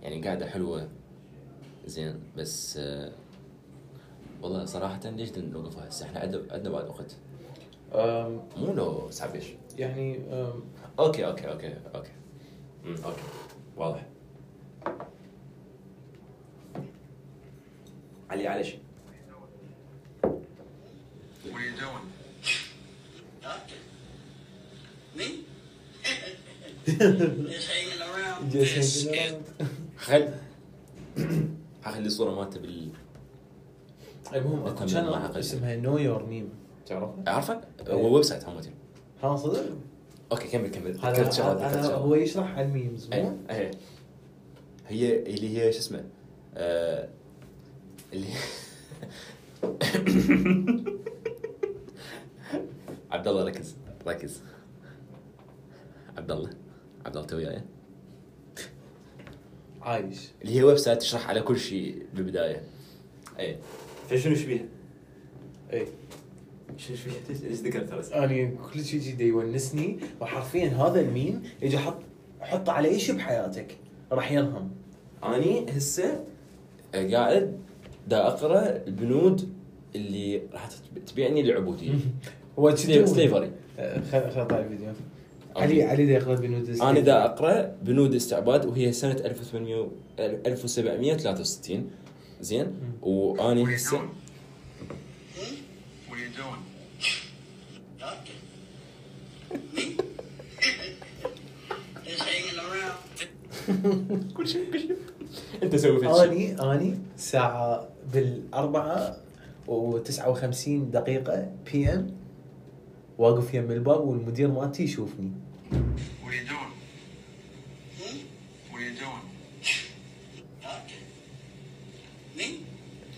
Speaker 1: يعني قاعده حلوه زين بس أه، والله صراحه ليش نوقفها هسه احنا عندنا عندنا بعد وقت
Speaker 2: أم،
Speaker 1: مو لو ساعه بيش
Speaker 2: يعني أم،
Speaker 1: اوكي اوكي اوكي اوكي أمم، اوكي واضح
Speaker 8: علي علي شيء
Speaker 9: What are you doing?
Speaker 10: Huh? Me? Just hanging around.
Speaker 2: just hanging around.
Speaker 1: خل هخلي الصورة مالته بال
Speaker 2: المهم اكو
Speaker 1: أتمنى ما
Speaker 2: شانل
Speaker 1: أقل.
Speaker 2: اسمها نو يور نيم تعرفها؟
Speaker 1: عارفه؟
Speaker 3: إيه.
Speaker 1: هو ويب سايت همتين
Speaker 2: ها صدق؟
Speaker 1: اوكي كمل كمل
Speaker 3: هذا
Speaker 1: ذكرت شغلة، ذكرت
Speaker 3: هذا
Speaker 1: شغلة. إيه،
Speaker 3: هو يشرح عن ميمز
Speaker 1: أي.
Speaker 3: مو؟
Speaker 1: أي. هي اللي هي شو اسمه؟ آه، اللي عبد الله ركز ركز عبد الله عبد الله تو وياي
Speaker 2: عايش
Speaker 1: اللي هي ويب سايت تشرح على كل شيء بالبدايه اي
Speaker 8: فشنو شبيه؟
Speaker 2: اي
Speaker 8: شنو شبيه؟ ليش ليش ذكرت هذا؟
Speaker 2: انا إيه. كل شيء جدا يونسني وحرفيا هذا الميم يجي حط حطه على اي شيء بحياتك راح ينهم
Speaker 8: اني هسه
Speaker 1: آه، قاعد دا اقرا البنود اللي راح تت- تبيعني للعبوديه
Speaker 2: هو آه،
Speaker 1: سلي- سليفري
Speaker 2: خل خل اطلع الفيديو
Speaker 1: أوكي.
Speaker 2: علي علي دا يقرا بنودس
Speaker 1: انا دا اقرا بنود استعباد وهي سنه 1800 و- 1763 زين
Speaker 9: What are
Speaker 1: واني
Speaker 9: you
Speaker 1: هسه
Speaker 9: doing? What are you doing?
Speaker 10: Huh? Me?
Speaker 1: كل شيء كل شيء انت سوي في هالشيء.
Speaker 2: اني اني الساعه بالاربعه و59 دقيقه بي ام واقف يم الباب والمدير مالتي يشوفني
Speaker 10: What are you doing? Hmm? What are you doing? Huh? Me?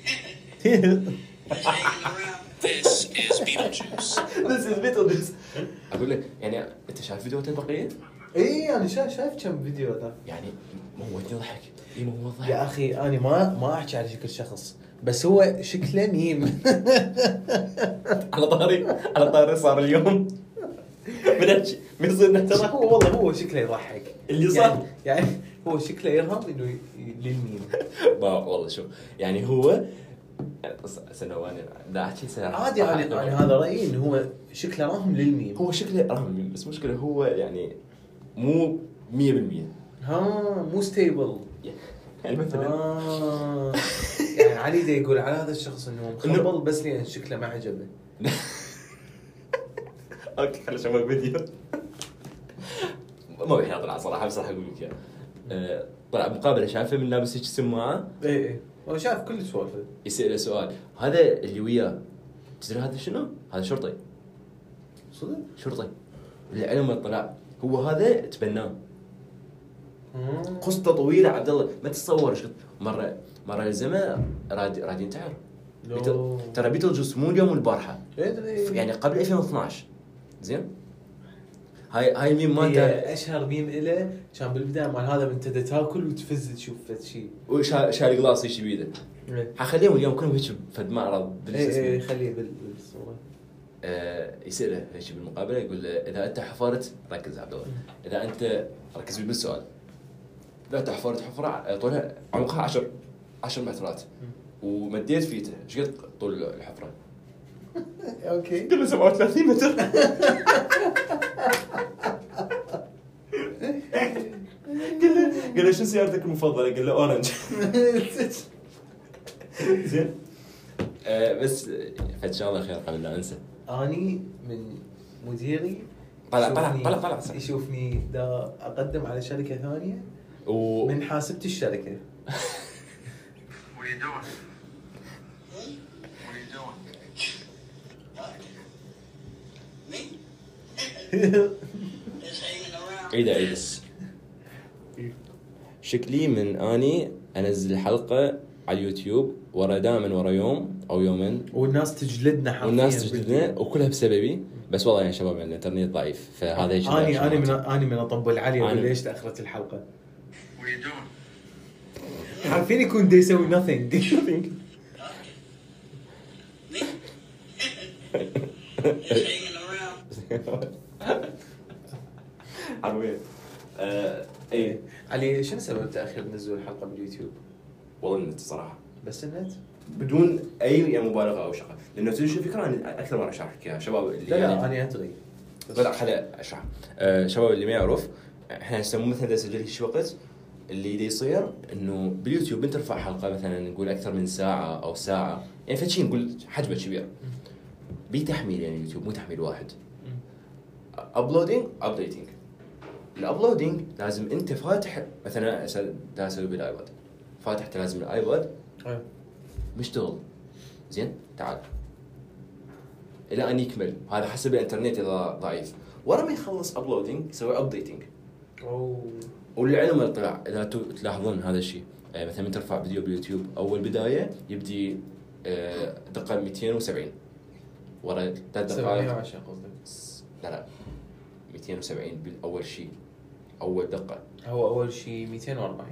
Speaker 10: Just hanging around.
Speaker 11: This is Beetlejuice.
Speaker 2: This is Beetlejuice.
Speaker 1: اقول لك يعني انت شايف فيديوهاتين بقيه؟
Speaker 3: اي انا شايف شايف كم فيديو ذا
Speaker 1: يعني موتني ضحك اي موتني
Speaker 2: يا
Speaker 1: ضحك
Speaker 2: اخي انا ما ما احكي على شكل شخص بس هو شكله ميم
Speaker 1: على طاري على طاري صار اليوم بنحكي بنصير
Speaker 2: ترى
Speaker 1: نحترق
Speaker 2: هو والله هو شكله يضحك
Speaker 1: اللي صار.
Speaker 2: يعني, يعني هو شكله يرهم انه ي- ي- للميم
Speaker 1: با- والله شوف يعني هو سنواني لا احكي سنة
Speaker 2: عادي يعني انا هذا رايي انه هو شكله راهم للميم
Speaker 1: هو شكله رغم بس مشكله هو يعني مو 100% يعني
Speaker 2: ها مو ستيبل
Speaker 1: مثلا
Speaker 2: آه. يعني علي دا يقول على هذا الشخص انه مخبل بس لان شكله ما عجبه
Speaker 1: اوكي خليني اشوف الفيديو ما بيحنا طلع صراحه بس راح اقول لك اياه آه، طلع مقابله شافه من لابس هيك سماعه
Speaker 2: اي اي هو إيه، شاف كل سوالفه
Speaker 1: يسأله سؤال هذا اللي وياه تدري هذا شنو؟ هذا شرطي
Speaker 2: صدق؟
Speaker 1: شرطي العلم طلع هو هذا تبناه
Speaker 2: آه.
Speaker 1: قصته طويله عبد الله ما تتصور ايش قد- مره مره لزمه راد راد ينتحر
Speaker 2: لو.
Speaker 1: بيتل- ترى بيتل جوس مو اليوم والبارحه
Speaker 2: ادري
Speaker 1: يعني قبل 2012 زين هاي هاي الميم مالته
Speaker 2: هي اشهر ميم اله كان بالبدايه مال هذا انت دا تاكل وتفز تشوف فد شيء
Speaker 1: وشا- شاري قلاص هيك بيده
Speaker 2: اي
Speaker 1: حخليهم اليوم كلهم هيك فد معرض بال- شو اسمه.
Speaker 2: اي إيه. خليه بال- بالصوره
Speaker 1: آه، يسأله هيك بالمقابله يقول له اذا انت حفرت ركز عبد الله اذا انت ركز بي بالسؤال اذا انت حفرت حفره آه، طولها عمقها 10 10 مترات ومديت فيته ايش قد طول الحفره؟
Speaker 2: اوكي
Speaker 1: قال له 37 متر قال له قال له شو سيارتك المفضله؟ قال له اورنج زين آه، بس آه، ان شاء الله خير قبل لا انسى
Speaker 2: اني من مديري
Speaker 1: طلع- طلع-
Speaker 2: يشوفني-
Speaker 1: طلع- طلع.
Speaker 2: يشوفني دا اقدم على شركه ثانيه
Speaker 1: و...
Speaker 2: من حاسبه الشركه
Speaker 9: What are you doing?
Speaker 10: What are you doing? Huh? Me? Just hanging around.
Speaker 1: عيد عيد إيه شكلي من اني انزل حلقه على اليوتيوب ورا دائما ورا يوم او يومين
Speaker 2: والناس تجلدنا حرفيا
Speaker 1: والناس تجلدنا وكلها بسببي بس والله يعني شباب يعني الانترنت ضعيف فهذا يجي
Speaker 2: اني اني من اني من اطبل علي
Speaker 1: أنا-
Speaker 2: اقول ليش تاخرت الحلقه
Speaker 9: What are you doing?
Speaker 2: عارفين يكون دا يسوي nothing
Speaker 10: Me? Just hanging around.
Speaker 8: حربية آه،
Speaker 1: إيه؟
Speaker 8: ايه
Speaker 2: علي شنو سبب تاخير نزول الحلقه باليوتيوب؟
Speaker 1: والله النت صراحه
Speaker 2: بس النت؟
Speaker 1: إيه. بدون اي يعني مبالغه او شغله لانه تدري شو الفكره انا اكثر مره اشرح لك يا شباب اللي
Speaker 2: لا
Speaker 1: يعني-
Speaker 2: لا انا ادري
Speaker 1: لا لا خليني اشرح أه، شباب اللي ما يعرف احنا هسه مو مثلا نسجل هيك وقت اللي دا يصير انه باليوتيوب بنرفع حلقه مثلا نقول اكثر من ساعه او ساعه يعني فشي نقول حجمه كبير بتحميل يعني اليوتيوب مو تحميل واحد ابلودينج ابديتنج الابلودينج لازم انت فاتح مثلا هسه دا اسوي بالايباد فاتح أنت لازم الايباد
Speaker 2: أيوة.
Speaker 1: مشتغل زين تعال الى ان يكمل هذا حسب الانترنت اذا ضعيف ورا ما يخلص ابلودينج يسوي ابديتنج
Speaker 2: اوه
Speaker 1: وللعلم طلع اذا تو- تلاحظون هذا الشيء آه، مثلا من ترفع فيديو باليوتيوب اول بدايه يبدي آه، دقه 270 ورا ثلاث دقائق
Speaker 2: 710 قصدك
Speaker 1: لا لا 270 بالاول شيء اول دقه
Speaker 2: هو اول شيء 240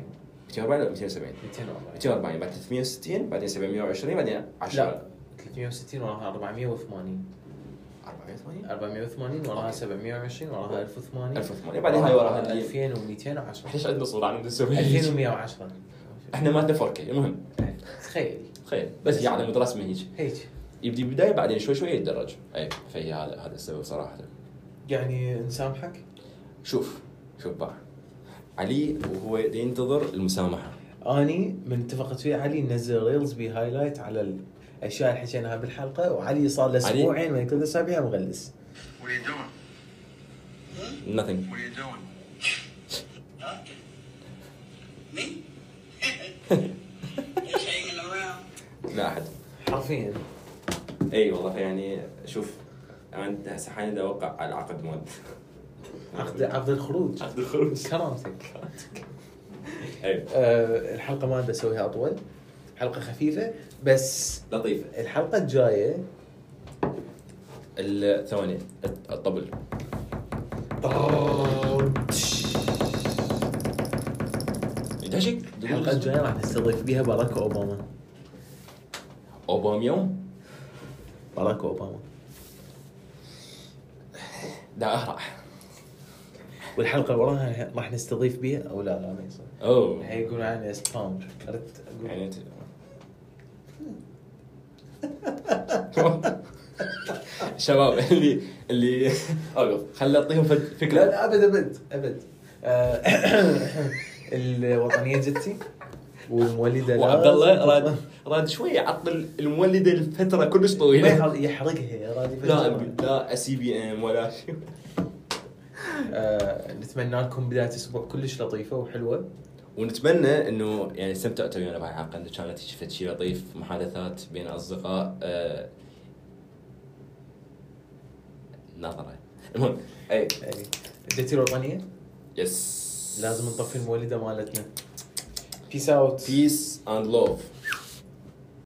Speaker 1: 240 ولا 270
Speaker 2: 240
Speaker 1: 240 بعد 360 بعدين 720 بعدين 10
Speaker 2: لا 360 وراها 480
Speaker 1: 480
Speaker 2: 480 وراها
Speaker 1: أوكي.
Speaker 2: 720 وراها 1080
Speaker 1: 1080 بعدين هاي وراها اللي-
Speaker 2: 2210
Speaker 1: ليش عندنا صوره عندنا نسوي هيك؟
Speaker 2: 2110
Speaker 1: احنا مالنا 4K المهم
Speaker 2: تخيل
Speaker 1: تخيل بس هي على مدرسه من هيك
Speaker 2: هيك
Speaker 1: يبدي بدايه بعدين شوي شوي يتدرج اي فهي هذا هذا السبب صراحه
Speaker 2: يعني نسامحك؟
Speaker 1: شوف شوف بقى علي وهو ينتظر المسامحه
Speaker 2: اني من اتفقت فيها علي ننزل ريلز بهايلايت على الاشياء اللي حكيناها بالحلقه وعلي صار له
Speaker 1: علي؟
Speaker 2: اسبوعين من ثلاث اسابيع مغلس
Speaker 9: What are you doing?
Speaker 1: nothing
Speaker 9: What are you doing?
Speaker 10: Huh?
Speaker 1: لا احد
Speaker 2: حرفيا
Speaker 8: اي والله فيعني شوف انا هسه حاليا اوقع على عقد مود
Speaker 2: عقد عقد الخروج
Speaker 8: عقد الخروج
Speaker 2: كرامتك
Speaker 8: اي
Speaker 2: أه الحلقه ما بدي اسويها اطول حلقه خفيفه بس
Speaker 8: لطيفه
Speaker 2: الحلقه الجايه
Speaker 1: ال- ثواني الطبل دشك
Speaker 2: الحلقه الجايه راح نستضيف بيها باراك اوباما
Speaker 1: اوبام يوم
Speaker 2: باراك اوباما
Speaker 1: دا اهرع
Speaker 2: والحلقه اللي وراها راح نستضيف بيها او لا لا ما يصير
Speaker 1: اوه
Speaker 2: حيقول عني سبام عرفت اقول
Speaker 1: يعني انت شباب اللي اللي اوقف خلي اعطيهم فك-
Speaker 2: لا
Speaker 1: فكره
Speaker 2: لا ابد ابد ابد آه، الوطنيه جتي والمولده لا.
Speaker 1: وعبد الله راد راد شوي عطل المولده لفتره كلش
Speaker 2: ما
Speaker 1: طويله
Speaker 2: يحر- يحرقها يا راجل
Speaker 1: لا لا سي بي ام ولا شيء
Speaker 2: آه، نتمنى لكم بدايه اسبوع كلش لطيفه وحلوه
Speaker 1: ونتمنى انه يعني استمتعتوا ويانا بهالحلقه انه كانت شفت شيء لطيف محادثات بين اصدقاء آه، نظره المهم إيه،
Speaker 8: اي
Speaker 2: يعني جتي الوطنيه
Speaker 1: يس
Speaker 2: لازم نطفي المولده مالتنا
Speaker 3: بيس اوت
Speaker 1: peace and love